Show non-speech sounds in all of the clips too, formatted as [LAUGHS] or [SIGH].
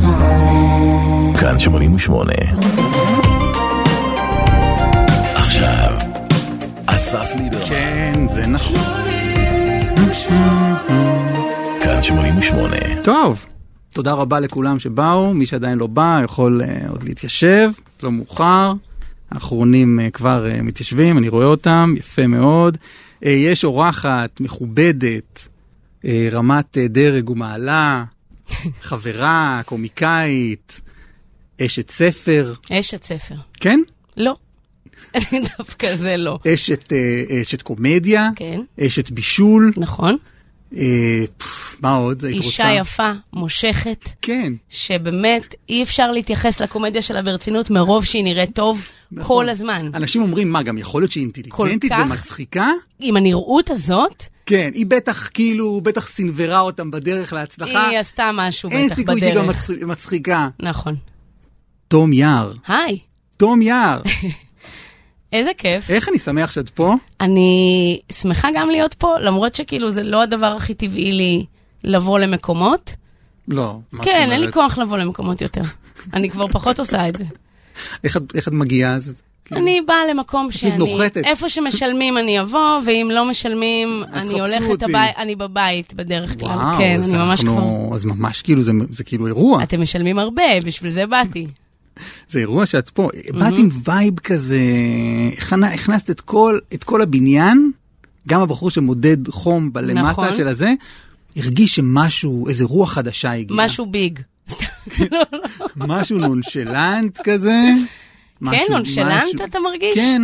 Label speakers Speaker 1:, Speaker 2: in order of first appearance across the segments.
Speaker 1: 88
Speaker 2: כאן 88. עכשיו, אסף ליברמן.
Speaker 3: כן, זה נכון.
Speaker 2: כאן 88.
Speaker 3: טוב, תודה רבה לכולם שבאו, מי שעדיין לא בא יכול אה, עוד להתיישב, לא מאוחר. האחרונים אה, כבר אה, מתיישבים, אני רואה אותם, יפה מאוד. אה, יש אורחת מכובדת, אה, רמת אה, דרג
Speaker 4: [LAUGHS]
Speaker 3: ומעלה, חברה, קומיקאית, אשת ספר,
Speaker 4: אשת ספר.
Speaker 3: כן?
Speaker 4: לא. [LAUGHS] דווקא זה לא.
Speaker 3: אשת, אה, אשת קומדיה,
Speaker 4: כן.
Speaker 3: אשת בישול,
Speaker 4: נכון.
Speaker 3: אה, פף, מה עוד היית
Speaker 4: אישה
Speaker 3: רוצה?
Speaker 4: יפה, מושכת,
Speaker 3: כן.
Speaker 4: שבאמת אי אפשר להתייחס לקומדיה שלה ברצינות מרוב שהיא נראית טוב
Speaker 3: נכון.
Speaker 4: כל הזמן.
Speaker 3: אנשים אומרים, מה, גם יכול להיות שהיא אינטליגנטית
Speaker 4: כל כך?
Speaker 3: ומצחיקה?
Speaker 4: עם הנראות הזאת,
Speaker 3: כן, היא בטח כאילו, בטח סנוורה אותם בדרך להצלחה.
Speaker 4: היא עשתה משהו
Speaker 3: אין
Speaker 4: בטח
Speaker 3: סיכוי שהיא גם
Speaker 4: בדרך.
Speaker 3: מצח- מצחיקה.
Speaker 4: נכון.
Speaker 3: תום יער,
Speaker 4: היי,
Speaker 3: תום
Speaker 4: [LAUGHS]
Speaker 3: יער,
Speaker 4: איזה כיף.
Speaker 3: איך אני שמח שאת פה.
Speaker 4: אני שמחה גם להיות פה, למרות שכאילו זה לא הדבר הכי טבעי לי לבוא למקומות.
Speaker 3: לא, מה זאת
Speaker 4: כן, אין לי
Speaker 3: אומרת?
Speaker 4: כוח לבוא למקומות יותר. אני כבר פחות עושה את זה.
Speaker 3: איך את- איך את מגיעה אז?
Speaker 4: אני באה למקום שאני...
Speaker 3: כן. נוחתת.
Speaker 4: איפה שמשלמים אני אבוא, ואם לא משלמים,
Speaker 3: אז
Speaker 4: אני
Speaker 3: חפשו
Speaker 4: הולכת
Speaker 3: אותי.
Speaker 4: הבית, אני בבית בדרך כלל.
Speaker 3: וואו,
Speaker 4: כן,
Speaker 3: אז
Speaker 4: אני ממש
Speaker 3: אנחנו-
Speaker 4: כבר...
Speaker 3: אז ממש כאילו, זה- זה כאילו אירוע.
Speaker 4: אתם משלמים הרבה, בשביל זה
Speaker 3: [LAUGHS]
Speaker 4: באתי.
Speaker 3: זה אירוע שאת פה. באת עם
Speaker 4: Mm-hmm.
Speaker 3: וייב כזה, הכנ- הכנסת את כל- את כל הבניין, גם הבחור שמודד חום בלמטה
Speaker 4: נכון.
Speaker 3: של הזה, הרגיש שמשהו, איזה רוח חדשה הגיעה.
Speaker 4: משהו ביג. סתם, לא, לא.
Speaker 3: משהו נונשלנט כזה. משהו-
Speaker 4: כן, נונשלנט
Speaker 3: משהו-
Speaker 4: אתה מרגיש?
Speaker 3: כן.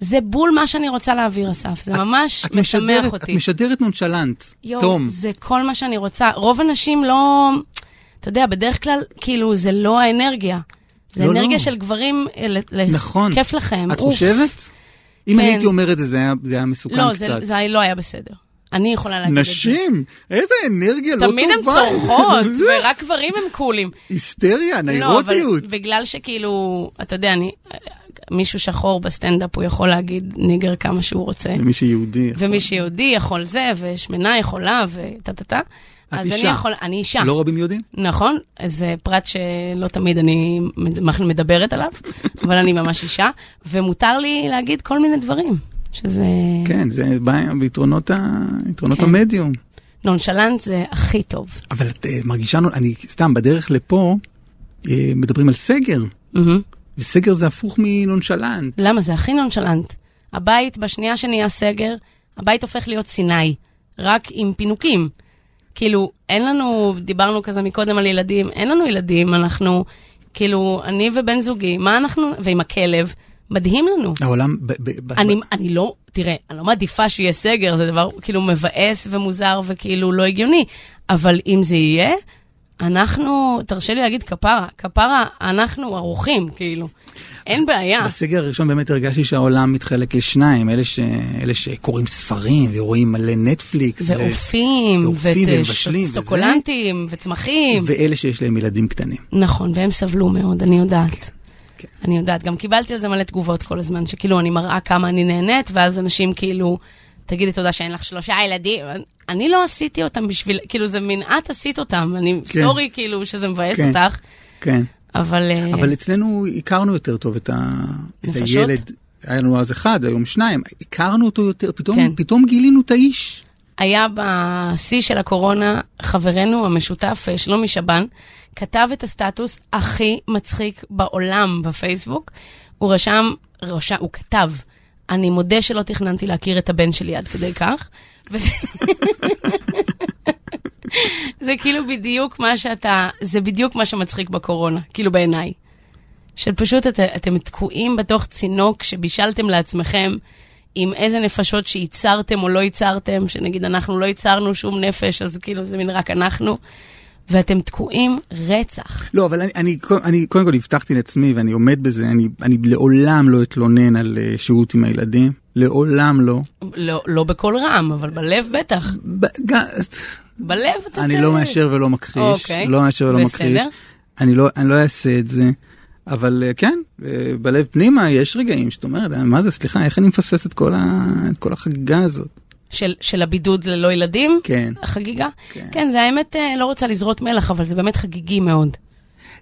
Speaker 4: זה בול מה שאני רוצה להעביר, אסף. זה ממש
Speaker 3: את משדרת-
Speaker 4: משמח אותי.
Speaker 3: את משדרת נונשלנט,
Speaker 4: יואו,
Speaker 3: תום.
Speaker 4: זה כל מה שאני רוצה. רוב הנשים לא... אתה יודע, בדרך כלל, כאילו, זה לא האנרגיה. זה
Speaker 3: לא,
Speaker 4: אנרגיה
Speaker 3: לא.
Speaker 4: של גברים, אה, ל- ל-
Speaker 3: נכון.
Speaker 4: כיף לכם.
Speaker 3: את
Speaker 4: אוף.
Speaker 3: חושבת? אם אני
Speaker 4: כן.
Speaker 3: הייתי אומר את זה, זה היה- זה היה מסוכן
Speaker 4: לא, זה,
Speaker 3: קצת.
Speaker 4: זה לא היה בסדר. אני יכולה להגיד את זה.
Speaker 3: נשים, איזה אנרגיה לא טובה.
Speaker 4: תמיד
Speaker 3: [LAUGHS]
Speaker 4: הן צורחות,
Speaker 3: זה
Speaker 4: ורק גברים הם קולים.
Speaker 3: היסטריה,
Speaker 4: לא, אבל
Speaker 3: ניירוטיות.
Speaker 4: בגלל שכאילו, אתה יודע, אני, מישהו שחור בסטנדאפ, הוא יכול להגיד ניגר כמה שהוא רוצה.
Speaker 3: למי שיהודי.
Speaker 4: ומי שיהודי יכול זה, ושמנה יכולה, וטה טה טה.
Speaker 3: את
Speaker 4: אז אני
Speaker 3: אישה.
Speaker 4: יכול, אני אישה.
Speaker 3: לא רבים יודעים?
Speaker 4: נכון, זה פרט שלא תמיד אני מד-
Speaker 3: [LAUGHS]
Speaker 4: מדברת עליו, אבל אני ממש אישה, ומותר לי להגיד כל מיני דברים, שזה...
Speaker 3: כן, זה בא ביתרונות ה- יתרונות
Speaker 4: כן.
Speaker 3: המדיום.
Speaker 4: נונשלנט זה הכי טוב.
Speaker 3: אבל את אה, מרגישה, נו- אני סתם, בדרך לפה, אה, מדברים על סגר,
Speaker 4: מהמם.
Speaker 3: וסגר זה הפוך מנונשלנט.
Speaker 4: למה? זה הכי נונשלנט. הבית, בשנייה שנהיה סגר, הבית הופך להיות סיני, רק עם פינוקים. כאילו, אין לנו, דיברנו כזה מקודם על ילדים, אין לנו ילדים, אנחנו, כאילו, אני ובן זוגי, מה אנחנו, ועם הכלב, מדהים לנו.
Speaker 3: העולם, ב- ב- ב-
Speaker 4: אני, אני לא, תראה, אני לא מעדיפה שיהיה סגר, זה דבר כאילו מבאס ומוזר וכאילו לא הגיוני, אבל אם זה יהיה, אנחנו, תרשה לי להגיד כפרה, כפרה, אנחנו ערוכים, כאילו. אין בעיה.
Speaker 3: בסגר הראשון באמת הרגשתי שהעולם מתחלק לשניים, אלה, ש... אלה שקוראים ספרים ורואים מלא נטפליקס. ו-
Speaker 4: ואופים,
Speaker 3: ואופים ומבשלים וזה.
Speaker 4: וסוקולנטים, אה, וצמחים.
Speaker 3: ואלה שיש להם ילדים קטנים.
Speaker 4: נכון, והם סבלו מאוד, אני יודעת.
Speaker 3: כן.
Speaker 4: אני יודעת, גם קיבלתי על זה מלא תגובות כל הזמן, שכאילו אני מראה כמה אני נהנית, ואז אנשים כאילו, תגידי תודה שאין לך שלושה ילדים. אני לא עשיתי אותם בשביל, כאילו זה מין, את עשית אותם, אני
Speaker 3: כן.
Speaker 4: סורי כאילו שזה מבאס
Speaker 3: כן.
Speaker 4: אותך,
Speaker 3: כן.
Speaker 4: אבל... אה,
Speaker 3: אבל אצלנו הכרנו יותר טוב את, ה... את
Speaker 4: נפשות?
Speaker 3: הילד. היה לנו אז אחד, היום שניים. הכרנו אותו יותר, פתאום,
Speaker 4: כן.
Speaker 3: פתאום גילינו את האיש.
Speaker 4: היה בשיא של הקורונה, חברנו המשותף, אה, שלומי שבן, כתב את הסטטוס הכי מצחיק בעולם בפייסבוק. הוא רשם, רשם הוא כתב, אני מודה שלא תכננתי להכיר את הבן שלי עד כדי כך. וזה [LAUGHS] זה כאילו בדיוק מה שאתה, זה בדיוק מה שמצחיק בקורונה, כאילו בעיניי. של פשוט את, אתם תקועים בתוך צינוק שבישלתם לעצמכם עם איזה נפשות שייצרתם או לא ייצרתם, שנגיד אנחנו לא ייצרנו שום נפש, אז כאילו זה מין רק אנחנו, ואתם תקועים רצח.
Speaker 3: לא, אבל אני, אני, אני קודם כל הבטחתי לעצמי, ואני עומד בזה, אני, אני לעולם לא אתלונן על אה, שהות עם הילדים. לעולם לא.
Speaker 4: לא, לא בקול רם, אבל בלב בטח.
Speaker 3: ב... ג-
Speaker 4: בלב אתה...
Speaker 3: אני לא מאשר ולא מכחיש.
Speaker 4: אוקיי.
Speaker 3: לא מאשר ולא
Speaker 4: בסדר.
Speaker 3: מכחיש. אני לא, אני לא אעשה את זה, אבל אה, כן, אה, בלב פנימה יש רגעים שאת אומרת, "אה, מה זה, סליחה, איך אני מפספס את כל, ה... את כל החגיגה הזאת?
Speaker 4: של, של הבידוד ללא ילדים,
Speaker 3: כן.
Speaker 4: החגיגה.
Speaker 3: כן.
Speaker 4: כן, כן זה האמת, אה, לא רוצה לזרות מלח, אבל זה באמת חגיגי מאוד.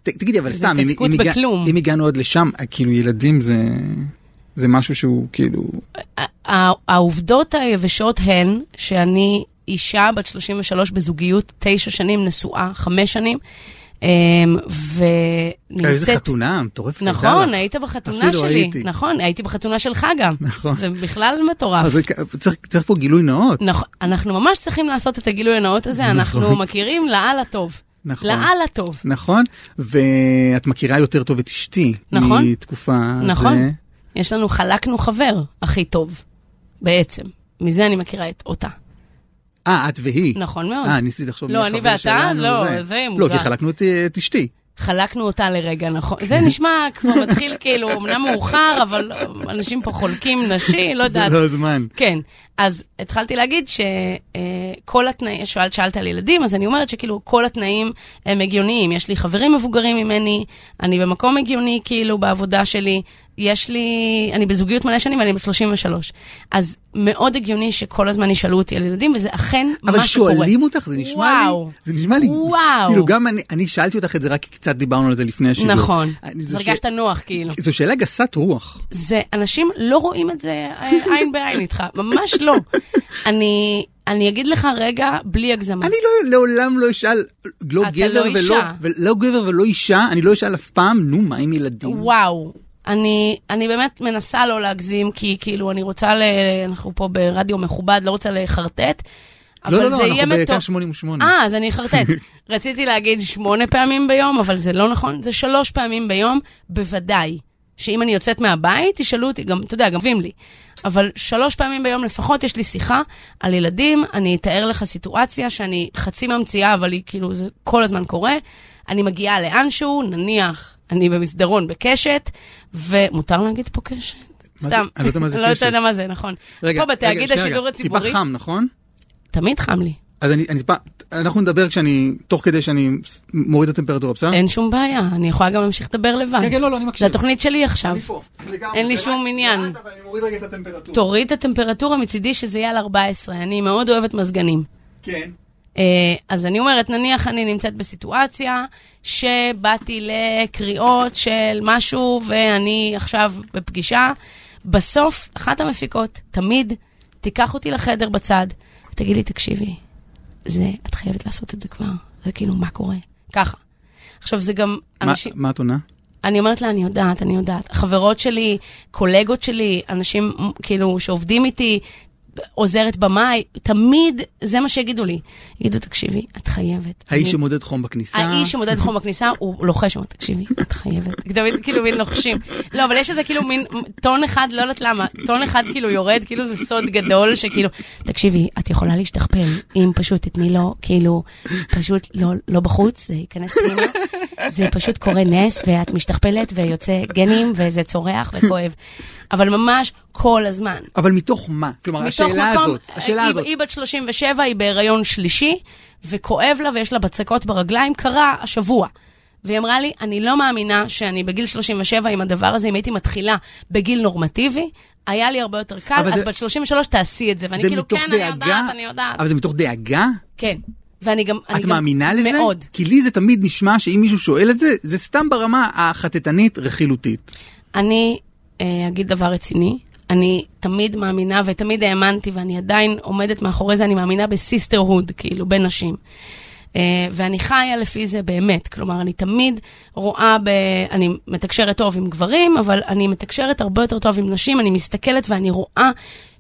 Speaker 3: ת- תגידי, אבל
Speaker 4: זה
Speaker 3: סתם, אם-
Speaker 4: התעסקות
Speaker 3: אם הגע-
Speaker 4: בכלום.
Speaker 3: אם הגענו עוד לשם, אה, כאילו ילדים זה... זה משהו שהוא כאילו,
Speaker 4: ה- ה- העובדות היבשות הן שאני אישה בת 33 בזוגיות, תשע שנים, נשואה, חמש שנים, אמ, ונמצאת...
Speaker 3: אה, איזה חתונה מטורפת. הייתה
Speaker 4: נכון,
Speaker 3: לך.
Speaker 4: היית בחתונה
Speaker 3: אפילו
Speaker 4: שלי.
Speaker 3: הייתי.
Speaker 4: נכון, הייתי בחתונה שלך גם.
Speaker 3: נכון.
Speaker 4: זה בכלל מטורף.
Speaker 3: אז זה כ- צריך- צריך פה גילוי נאות.
Speaker 4: נכון, אנחנו ממש צריכים לעשות את הגילוי הנאות הזה, אנחנו מכירים לאללה טוב.
Speaker 3: נכון.
Speaker 4: לאללה טוב.
Speaker 3: נכון, ואת מכירה יותר טוב את אשתי.
Speaker 4: נכון.
Speaker 3: מתקופה
Speaker 4: נכון.
Speaker 3: זה.
Speaker 4: יש לנו חלקנו חבר הכי טוב, בעצם. מזה אני מכירה את אותה.
Speaker 3: אה, את והיא.
Speaker 4: נכון מאוד.
Speaker 3: אה, ניסיתי לחשוב
Speaker 4: לא,
Speaker 3: מי
Speaker 4: אני
Speaker 3: החבר
Speaker 4: ואתה?
Speaker 3: שלנו
Speaker 4: לא, זה
Speaker 3: לא,
Speaker 4: מוזר.
Speaker 3: כי חלקנו את, את אשתי.
Speaker 4: חלקנו אותה לרגע, נכון. זה נשמע כבר מתחיל כאילו, אמנם מאוחר, אבל אנשים פה חולקים נשי, לא
Speaker 3: זה
Speaker 4: יודעת.
Speaker 3: לא הזמן.
Speaker 4: כן, אז התחלתי להגיד אה, שכל התנאים, שאלת, שאלת על ילדים, אז אני אומרת שכאילו כל התנאים הם הגיוניים. יש לי חברים מבוגרים ממני, אני במקום הגיוני כאילו בעבודה שלי, יש לי, אני בזוגיות מלא שנים, אני בת 33. אז מאוד הגיוני שכל הזמן ישאלו אותי על ילדים, וזה אכן מה
Speaker 3: אבל
Speaker 4: שקורה.
Speaker 3: שואלים אותך, זה נשמע
Speaker 4: וואו.
Speaker 3: לי, זה נשמע לי,
Speaker 4: וואו.
Speaker 3: כאילו גם אני, אני שאלתי אותך את זה רק כי קצת דיברנו על זה לפני השידור.
Speaker 4: נכון,
Speaker 3: אני-
Speaker 4: אז
Speaker 3: זו
Speaker 4: הרגשת נוח כאילו.
Speaker 3: זו שאלה גסת רוח.
Speaker 4: זה, אנשים לא רואים את זה אה, עין בעין איתך, ממש לא. אני, אני אגיד לך רגע, בלי הגזמה.
Speaker 3: אני לא, לעולם לא אשאל, לא
Speaker 4: אתה
Speaker 3: גבר
Speaker 4: לא
Speaker 3: ולא,
Speaker 4: אישה.
Speaker 3: ולא גבר ולא אישה, אני לא אשאל אף פעם, נו, מה עם ילדים?
Speaker 4: וואו. אני, אני באמת מנסה לא להגזים, כי כאילו, אני רוצה ל... אנחנו פה ברדיו מכובד, לא רוצה לחרטט, אבל
Speaker 3: לא, לא,
Speaker 4: זה
Speaker 3: לא,
Speaker 4: יהיה
Speaker 3: אנחנו
Speaker 4: מטור...
Speaker 3: בכאן 88.
Speaker 4: אה, אז אני
Speaker 3: [LAUGHS]
Speaker 4: אחרטט. רציתי להגיד שמונה פעמים ביום, אבל זה לא נכון, זה שלוש פעמים ביום, בוודאי. שאם אני יוצאת מהבית, תשאלו אותי, גם, אתה יודע, גם כותבים לי. אבל שלוש פעמים ביום לפחות יש לי שיחה על ילדים, אני אתאר לך סיטואציה שאני חצי ממציאה, אבל היא כאילו, זה כל הזמן קורה. אני מגיעה לאנשהו, נניח, אני במסדרון בקשת, ומותר להגיד פה קשת?
Speaker 3: זה?
Speaker 4: סתם.
Speaker 3: אני לא יודע מה זה
Speaker 4: לא
Speaker 3: קשת.
Speaker 4: יודע מה זה, נכון.
Speaker 3: רגע, רגע,
Speaker 4: פה בתאגיד
Speaker 3: שנייה,
Speaker 4: השידור
Speaker 3: רגע,
Speaker 4: הציבורי,
Speaker 3: טיפה חם, נכון?
Speaker 4: תמיד חם לי.
Speaker 3: אז אני, אני טיפה, אנחנו נדבר כשאני, תוך כדי שאני ס- מוריד את הטמפרטורה, בסדר?
Speaker 4: אין שום בעיה, אני יכולה גם להמשיך לדבר לבד.
Speaker 3: כן, כן, לא, לא, אני מקשיב.
Speaker 4: זה התוכנית שלי עכשיו.
Speaker 3: אני פה, לגמרי.
Speaker 4: אין לי
Speaker 3: זה
Speaker 4: שום
Speaker 3: רק-
Speaker 4: עניין.
Speaker 3: מעט, אבל אני מוריד רגע את הטמפרטורה.
Speaker 4: תוריד את הטמפרטורה מצידי שזה יהיה על 14, אני מאוד אוהבת מזגנים.
Speaker 3: כן.
Speaker 4: אה, אז אני אומרת, נניח אני נמצאת בסיטואציה שבאתי לקריאות של משהו ואני עכשיו בפגישה, בסוף אחת המפיקות תמיד תיקח אותי לחדר בצד ותגיד לי, תקשיבי, זה, את חייבת לעשות את זה כבר, זה כאילו, מה קורה? ככה. עכשיו, זה גם
Speaker 3: מה-
Speaker 4: אנשים...
Speaker 3: מה את עונה?
Speaker 4: אני אומרת לה, אני יודעת, אני יודעת. חברות שלי, קולגות שלי, אנשים מ, כאילו שעובדים איתי, עוזרת במאי, תמיד זה מה שיגידו לי. יגידו, תקשיבי, את חייבת.
Speaker 3: האיש
Speaker 4: אני-
Speaker 3: שמודד חום בכניסה.
Speaker 4: האיש שמודד חום בכניסה, הוא לוחש, הוא אומר, תקשיבי, את חייבת. תמיד כאילו מין לוחשים. לא, אבל יש איזה כאילו מין טון אחד, לא יודעת למה, טון אחד כאילו יורד, כאילו זה סוד גדול, שכאילו, תקשיבי, את יכולה להשתכפל, אם פשוט תתני לו, כאילו, פשוט לא- לא בחוץ, זה ייכנס פנימה. זה פשוט קורה נס, ואת משתכפלת, ויוצא גנים, וזה צורח וכואב. אבל ממש כל הזמן.
Speaker 3: אבל מתוך מה? כלומר,
Speaker 4: מתוך
Speaker 3: השאלה
Speaker 4: מקום, אה,
Speaker 3: הזאת, השאלה
Speaker 4: היא,
Speaker 3: הזאת.
Speaker 4: היא בת 37, היא בהיריון שלישי, וכואב לה ויש לה בצקות ברגליים, קרה השבוע. והיא אמרה לי, אני לא מאמינה שאני בגיל 37 עם הדבר הזה, אם הייתי מתחילה בגיל נורמטיבי, היה לי הרבה יותר קל,
Speaker 3: אבל
Speaker 4: אז
Speaker 3: זה-
Speaker 4: בת 33 תעשי את זה. ואני
Speaker 3: זה
Speaker 4: כאילו,
Speaker 3: מתוך
Speaker 4: כן, אני
Speaker 3: דאגה?
Speaker 4: יודעת, אני יודעת.
Speaker 3: אבל זה מתוך דאגה?
Speaker 4: כן. ואני גם... אני
Speaker 3: את
Speaker 4: גם-
Speaker 3: מאמינה לזה?
Speaker 4: מאוד.
Speaker 3: כי לי זה תמיד נשמע שאם מישהו שואל את זה, זה סתם ברמה החטטנית רכילותית.
Speaker 4: אני אה, אגיד דבר רציני. אני תמיד מאמינה ותמיד האמנתי, ואני עדיין עומדת מאחורי זה, אני מאמינה בסיסטרהוד, כאילו, בין נשים. אה, ואני חיה לפי זה באמת. כלומר, אני תמיד רואה ב... אני מתקשרת טוב עם גברים, אבל אני מתקשרת הרבה יותר טוב עם נשים, אני מסתכלת ואני רואה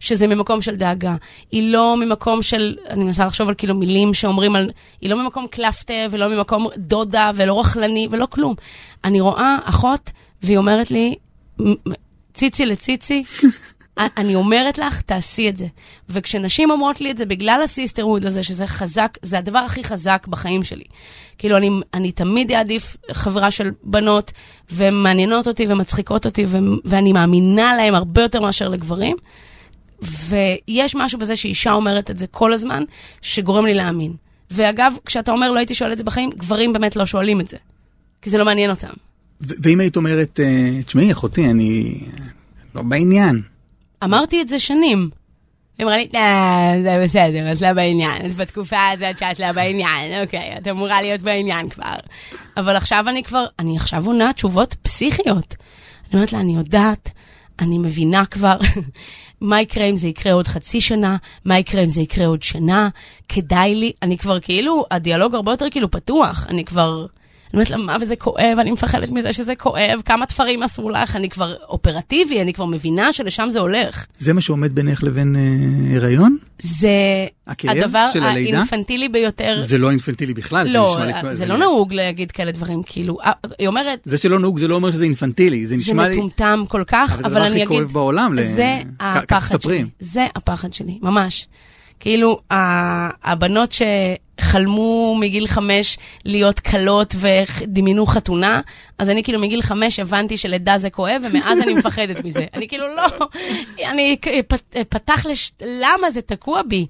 Speaker 4: שזה ממקום של דאגה. היא לא ממקום של... אני מנסה לחשוב על כאילו מילים שאומרים על... היא לא ממקום קלפטה, ולא ממקום דודה, ולא רכלני, ולא כלום. אני רואה אחות, והיא אומרת לי, "מ- מ- ציצי לציצי, אני אומרת לך, תעשי את זה. וכשנשים אומרות לי את זה, בגלל הסיסטרהוד הזה, שזה חזק, זה הדבר הכי חזק בחיים שלי. כאילו, אני, אני תמיד אעדיף חברה של בנות, והן מעניינות אותי ומצחיקות אותי, ו, ואני מאמינה להן הרבה יותר מאשר לגברים. ויש משהו בזה שאישה אומרת את זה כל הזמן, שגורם לי להאמין. ואגב, כשאתה אומר לא הייתי שואל את זה בחיים, גברים באמת לא שואלים את זה. כי זה לא מעניין אותם.
Speaker 3: ו- ואם היית אומרת, אה, תשמעי, אחותי, אני לא אה, בעניין.
Speaker 4: אמרתי את זה שנים. היא אמרה לי, "אה, זה בסדר, את לא בעניין, את בתקופה הזאת שאת לא בעניין, אוקיי, את אמורה להיות בעניין כבר. אבל עכשיו אני כבר, אני עכשיו עונה תשובות פסיכיות. אני אומרת לה, אני יודעת, אני מבינה כבר, [LAUGHS] מה יקרה אם זה יקרה עוד חצי שנה, מה יקרה אם זה יקרה עוד שנה, כדאי לי, אני כבר כאילו, הדיאלוג הרבה יותר כאילו פתוח, אני כבר... אני אומרת לה, מה וזה כואב, אני מפחדת מזה שזה כואב, כמה תפרים אסור לך, אני כבר אופרטיבי, אני כבר מבינה שלשם זה הולך.
Speaker 3: זה מה שעומד בינך לבין אה, הריון?
Speaker 4: זה
Speaker 3: הכאב
Speaker 4: הדבר
Speaker 3: של הלידה?
Speaker 4: האינפנטילי ביותר.
Speaker 3: זה לא אינפנטילי בכלל. זה
Speaker 4: לא,
Speaker 3: נשמע לי כמו-
Speaker 4: זה לא נהוג להגיד כאלה דברים, כאילו, אה, היא אומרת,
Speaker 3: זה שלא נהוג זה לא אומר שזה אינפנטילי, זה
Speaker 4: זה
Speaker 3: נשמע לי...
Speaker 4: מטומטם כל כך,
Speaker 3: אבל זה
Speaker 4: אבל
Speaker 3: הדבר
Speaker 4: אני
Speaker 3: הכי
Speaker 4: אגיד,
Speaker 3: כואב בעולם, ל-
Speaker 4: זה
Speaker 3: כ- ככה
Speaker 4: הפחד
Speaker 3: מספרים.
Speaker 4: שלי, זה הפחד שלי, ממש. כאילו, ה- הבנות שחלמו מגיל חמש להיות כלות ודמיינו חתונה, אז אני כאילו מגיל חמש הבנתי שלידה זה כואב, ומאז אני מפחדת מזה. אני כאילו לא, אני כ- פ- פתח לש... למה זה תקוע בי?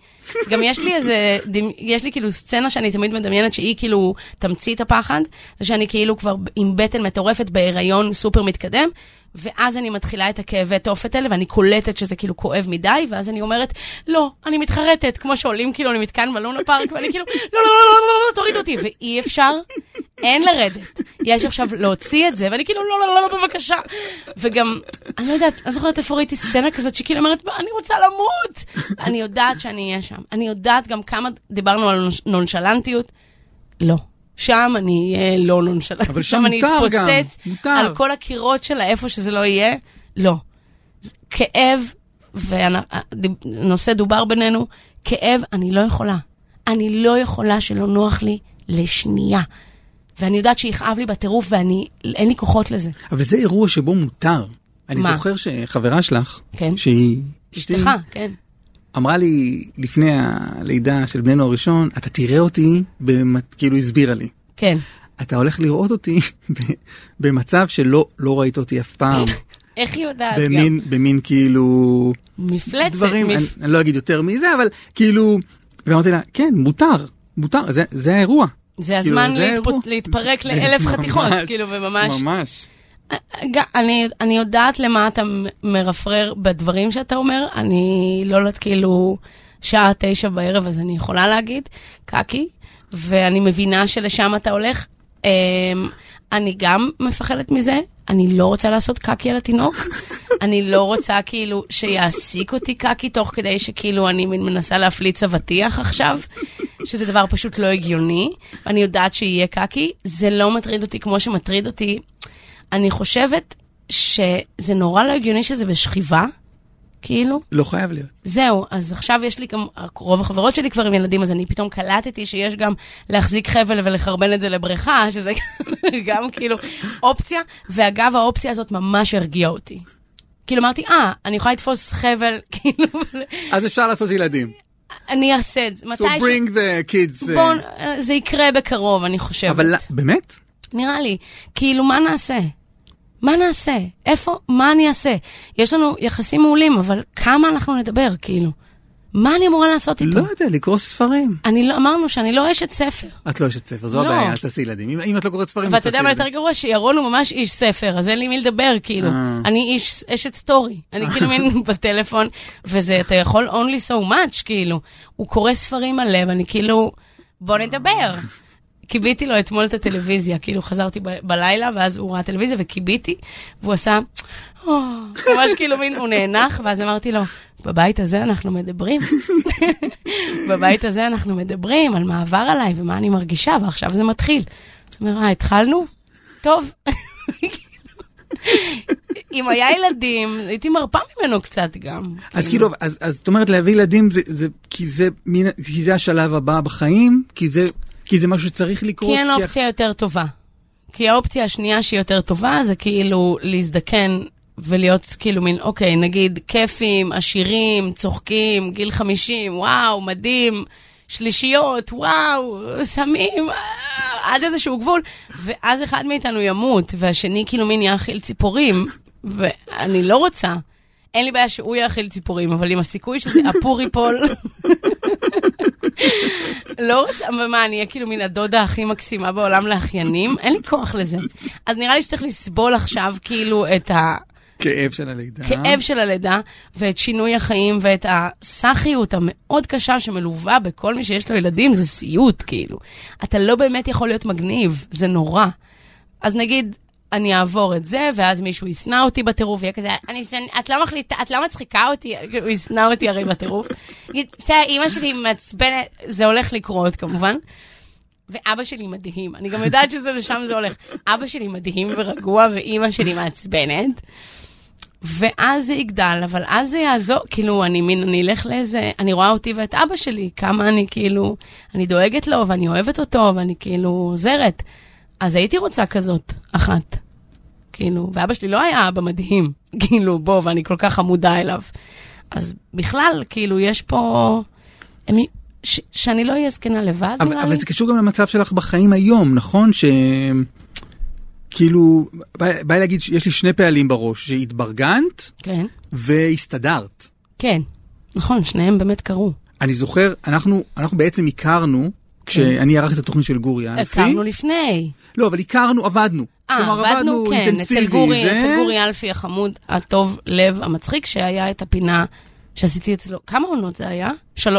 Speaker 4: גם יש לי איזה, דמ- יש לי כאילו סצנה שאני תמיד מדמיינת שהיא כאילו תמצית הפחד, זה שאני כאילו כבר עם בטן מטורפת בהיריון סופר מתקדם, ואז אני מתחילה את הכאבי תופת האלה, ואני קולטת שזה כאילו כואב מדי, ואז אני אומרת, לא, אני מתחרטת, כמו שעולים כאילו למתקן בלונה פארק, ואני כאילו, לא, לא, לא, לא, לא, לא, לא, תוריד אותי, ואי אפשר, אין לרדת. יש עכשיו להוציא את זה, ואני כאילו, לא, לא, לא, לא, בבקשה. וגם, אני לא יודעת, אני זוכרת איפה ראיתי סצנה כזאת, שכאילו אומרת, אני רוצה למות. אני יודעת שאני אהיה שם. אני יודעת גם כמה דיברנו על נונשלנטיות. לא. שם אני אהיה לא נונשלנט.
Speaker 3: אבל שם
Speaker 4: אני
Speaker 3: מותר גם,
Speaker 4: אתפוצץ
Speaker 3: מותר.
Speaker 4: על כל הקירות שלה, איפה שזה לא יהיה. לא. זה כאב, והנושא דובר בינינו, כאב, אני לא יכולה. אני לא יכולה שלא נוח לי לשנייה. ואני יודעת שיכאב לי בטירוף, ואני, אין לי כוחות לזה.
Speaker 3: אבל זה אירוע שבו מותר. אני
Speaker 4: מה?
Speaker 3: זוכר שחברה שלך,
Speaker 4: כן.
Speaker 3: שהיא אשתי,
Speaker 4: אשתך, כן.
Speaker 3: אמרה לי לפני הלידה של בננו הראשון, אתה תראה אותי, במת- כאילו הסבירה לי.
Speaker 4: כן.
Speaker 3: אתה הולך לראות אותי [LAUGHS] ב- במצב שלא לא ראית אותי אף
Speaker 4: [LAUGHS]
Speaker 3: פעם,
Speaker 4: איך היא יודעת גם?
Speaker 3: במין, במין כאילו...
Speaker 4: מפלצת.
Speaker 3: דברים,
Speaker 4: מפ-
Speaker 3: אני, אני לא אגיד יותר מזה, אבל כאילו... ואמרתי לה, כן, מותר, מותר, זה, זה האירוע.
Speaker 4: זה
Speaker 3: כאילו,
Speaker 4: הזמן
Speaker 3: זה
Speaker 4: להתפו-
Speaker 3: האירוע. [LAUGHS]
Speaker 4: להתפרק
Speaker 3: זה
Speaker 4: לאלף
Speaker 3: ממש-
Speaker 4: חתיכות, כאילו, וממש...
Speaker 3: ממש.
Speaker 4: ג- אני, אני יודעת למה אתה מ- מרפרר בדברים שאתה אומר, אני לא יודעת כאילו שעה תשע בערב, אז אני יכולה להגיד, קקי, ואני מבינה שלשם אתה הולך. אמ, אני גם מפחדת מזה, אני לא רוצה לעשות קקי על התינוק, אני לא רוצה כאילו שיעסיק אותי קקי תוך כדי שכאילו אני מין מנסה להפליץ אבטיח עכשיו, שזה דבר פשוט לא הגיוני, ואני יודעת שיהיה קקי, זה לא מטריד אותי כמו שמטריד אותי אני חושבת שזה נורא לא הגיוני שזה בשכיבה, כאילו.
Speaker 3: לא חייב להיות.
Speaker 4: זהו, אז עכשיו יש לי גם, רוב החברות שלי כבר עם ילדים, אז אני פתאום קלטתי שיש גם להחזיק חבל ולחרבן את זה לבריכה, שזה [LAUGHS] גם כאילו אופציה. ואגב, האופציה הזאת ממש הרגיעה אותי. כאילו אמרתי, אה, אני יכולה לתפוס חבל, [LAUGHS] כאילו,
Speaker 3: אז אפשר לעשות ילדים.
Speaker 4: אני אעשה את זה.
Speaker 3: So
Speaker 4: מתי ש...
Speaker 3: bring the kids. uh,
Speaker 4: בואו, זה יקרה בקרוב, אני חושבת.
Speaker 3: אבל לא- באמת?
Speaker 4: נראה לי. כאילו, מה נעשה? מה נעשה? איפה? מה אני אעשה? יש לנו יחסים מעולים, אבל כמה אנחנו נדבר, כאילו? מה אני אמורה לעשות איתו?
Speaker 3: לא יודע, לקרוא ספרים.
Speaker 4: אני לא, אמרנו שאני לא אשת ספר.
Speaker 3: את לא אשת ספר, זו
Speaker 4: לא.
Speaker 3: הבעיה, אז תעשי ילדים. אם- אם את לא קוראת ספרים, אז
Speaker 4: ואתה יודע
Speaker 3: תעשי
Speaker 4: מה יותר
Speaker 3: ילדים.
Speaker 4: גרוע? שירון הוא ממש איש ספר, אז אין לי מי לדבר, כאילו.
Speaker 3: אה.
Speaker 4: אני איש, אשת סטורי. אני כאילו מין בטלפון, וזה, אתה יכול only so much, כאילו. הוא קורא ספרים מלא, ואני כאילו, בוא נדבר. כיביתי לו אתמול את הטלוויזיה, כאילו חזרתי ב- בלילה, ואז הוא ראה טלוויזיה וכיביתי, והוא עשה, "או", ממש כאילו מין, הוא נאנח, ואז אמרתי לו, בבית הזה אנחנו מדברים. [LAUGHS] בבית הזה אנחנו מדברים על מה עבר עליי ומה אני מרגישה, ועכשיו זה מתחיל. אז הוא אומר, אה, התחלנו? טוב. אם היה ילדים, הייתי מרפה ממנו קצת גם.
Speaker 3: אז כאילו, אז אז את אומרת להביא ילדים, זה- זה- כי זה מין- כי זה השלב הבא בחיים, כי זה... כי זה משהו שצריך לקרות.
Speaker 4: כי אין
Speaker 3: כי-
Speaker 4: אופציה יותר טובה. כי האופציה השנייה שהיא יותר טובה זה כאילו להזדקן ולהיות כאילו מין, אוקיי, נגיד כיפים, עשירים, צוחקים, גיל 50, וואו, מדהים, שלישיות, וואו, סמים, אה, עד איזשהו גבול, ואז אחד מאיתנו ימות, והשני כאילו מין יאכיל ציפורים, ואני לא רוצה. אין לי בעיה שהוא יאכיל ציפורים, אבל עם הסיכוי שזה הפור ייפול, לא רוצה, אבל מה, אני אהיה כאילו מן הדודה הכי מקסימה בעולם לאחיינים? אין לי כוח לזה. אז נראה לי שצריך לסבול עכשיו כאילו את ה...
Speaker 3: כאב של הלידה.
Speaker 4: כאב של הלידה, ואת שינוי החיים, ואת הסאחיות המאוד קשה שמלווה בכל מי שיש לו ילדים, זה סיוט, כאילו. אתה לא באמת יכול להיות מגניב, זה נורא. אז נגיד, אני אעבור את זה, ואז מישהו ישנא אותי בטירוף, יהיה כזה, אני, שנ- את לא מחליטה, את לא מצחיקה אותי, הוא ישנא אותי הרי בטירוף. יגיד, בסדר, אימא שלי מעצבנת, זה הולך לקרות כמובן. ואבא שלי מדהים, אני גם יודעת שזה לשם זה הולך. אבא שלי מדהים ורגוע, ואימא שלי מעצבנת. ואז זה יגדל, אבל אז זה יעזור, כאילו, אני מין, אני אלך לאיזה, אני רואה אותי ואת אבא שלי, כמה אני כאילו, אני דואגת לו, ואני אוהבת אותו, ואני כאילו עוזרת. אז הייתי רוצה כזאת, אחת. כאילו, ואבא שלי לא היה אבא מדהים, [LAUGHS] כאילו, בוא, ואני כל כך חמודה אליו. אז בכלל, כאילו, יש פה... הם- ש- שאני לא אהיה זקנה לבד,
Speaker 3: אבל,
Speaker 4: נראה
Speaker 3: אבל
Speaker 4: לי.
Speaker 3: זה קשור גם למצב שלך בחיים היום, נכון? ש... כאילו, בא, בא לי להגיד שיש לי שני פעלים בראש, שהתברגנת
Speaker 4: כן,
Speaker 3: והסתדרת.
Speaker 4: כן. נכון, שניהם באמת קרו.
Speaker 3: אני זוכר, אנחנו, אנחנו בעצם הכרנו, כשאני ערכתי את התוכנית של גורי אלפי.
Speaker 4: כן. הכרנו לפני.
Speaker 3: לא, אבל הכרנו, עבדנו.
Speaker 4: אה,
Speaker 3: כלומר,
Speaker 4: עבדנו, כן, אצל
Speaker 3: אינטנסיבי,
Speaker 4: גורי,
Speaker 3: זה-
Speaker 4: אצל גורי אלפי החמוד, הטוב לב, המצחיק, שהיה את הפינה שעשיתי אצלו. כמה עונות זה היה? של...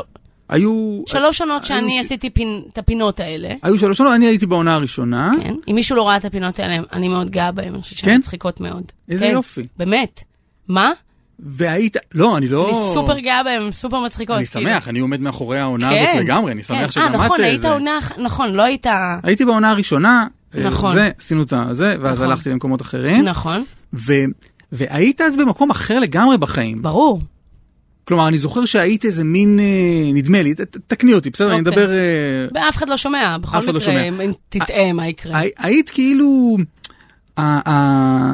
Speaker 3: היו...
Speaker 4: שלוש עונות
Speaker 3: היו
Speaker 4: שאני
Speaker 3: ש-
Speaker 4: עשיתי פינ... את הפינות האלה.
Speaker 3: היו שלוש עונות, אני הייתי בעונה הראשונה.
Speaker 4: כן. אם מישהו לא ראה את הפינות האלה, אני מאוד גאה בהן, אני חושבת שהן
Speaker 3: כן?
Speaker 4: מצחיקות מאוד.
Speaker 3: איזה
Speaker 4: כן,
Speaker 3: יופי.
Speaker 4: באמת. מה?
Speaker 3: והיית... לא, אני לא...
Speaker 4: אני סופר גאה בהן, הן סופר מצחיקות.
Speaker 3: אני
Speaker 4: כאילו.
Speaker 3: שמח, אני עומד מאחורי העונה הזאת לגמרי, אני
Speaker 4: כן.
Speaker 3: שמח שגם את...
Speaker 4: אה, נכון,
Speaker 3: אה,
Speaker 4: היית
Speaker 3: זה.
Speaker 4: עונה, נכון, לא היית...
Speaker 3: הייתי בעונה הראשונה, אה,
Speaker 4: נכון.
Speaker 3: זה, עשינו את זה, ואז
Speaker 4: נכון.
Speaker 3: הלכתי למקומות אחרים.
Speaker 4: נכון,
Speaker 3: ו- והיית אז במקום אחר לגמרי בחיים.
Speaker 4: ברור.
Speaker 3: כלומר, אני זוכר שהיית איזה מין, אה, נדמה לי, ת- ת- תקני אותי, בסדר? אני
Speaker 4: אוקיי.
Speaker 3: מדבר... אה,
Speaker 4: ואף אחד לא שומע, בכל
Speaker 3: אף אחד לא
Speaker 4: מקרה,
Speaker 3: שומע. אה,
Speaker 4: אם תטעה מה יקרה.
Speaker 3: הי- היית כאילו... ה- ה-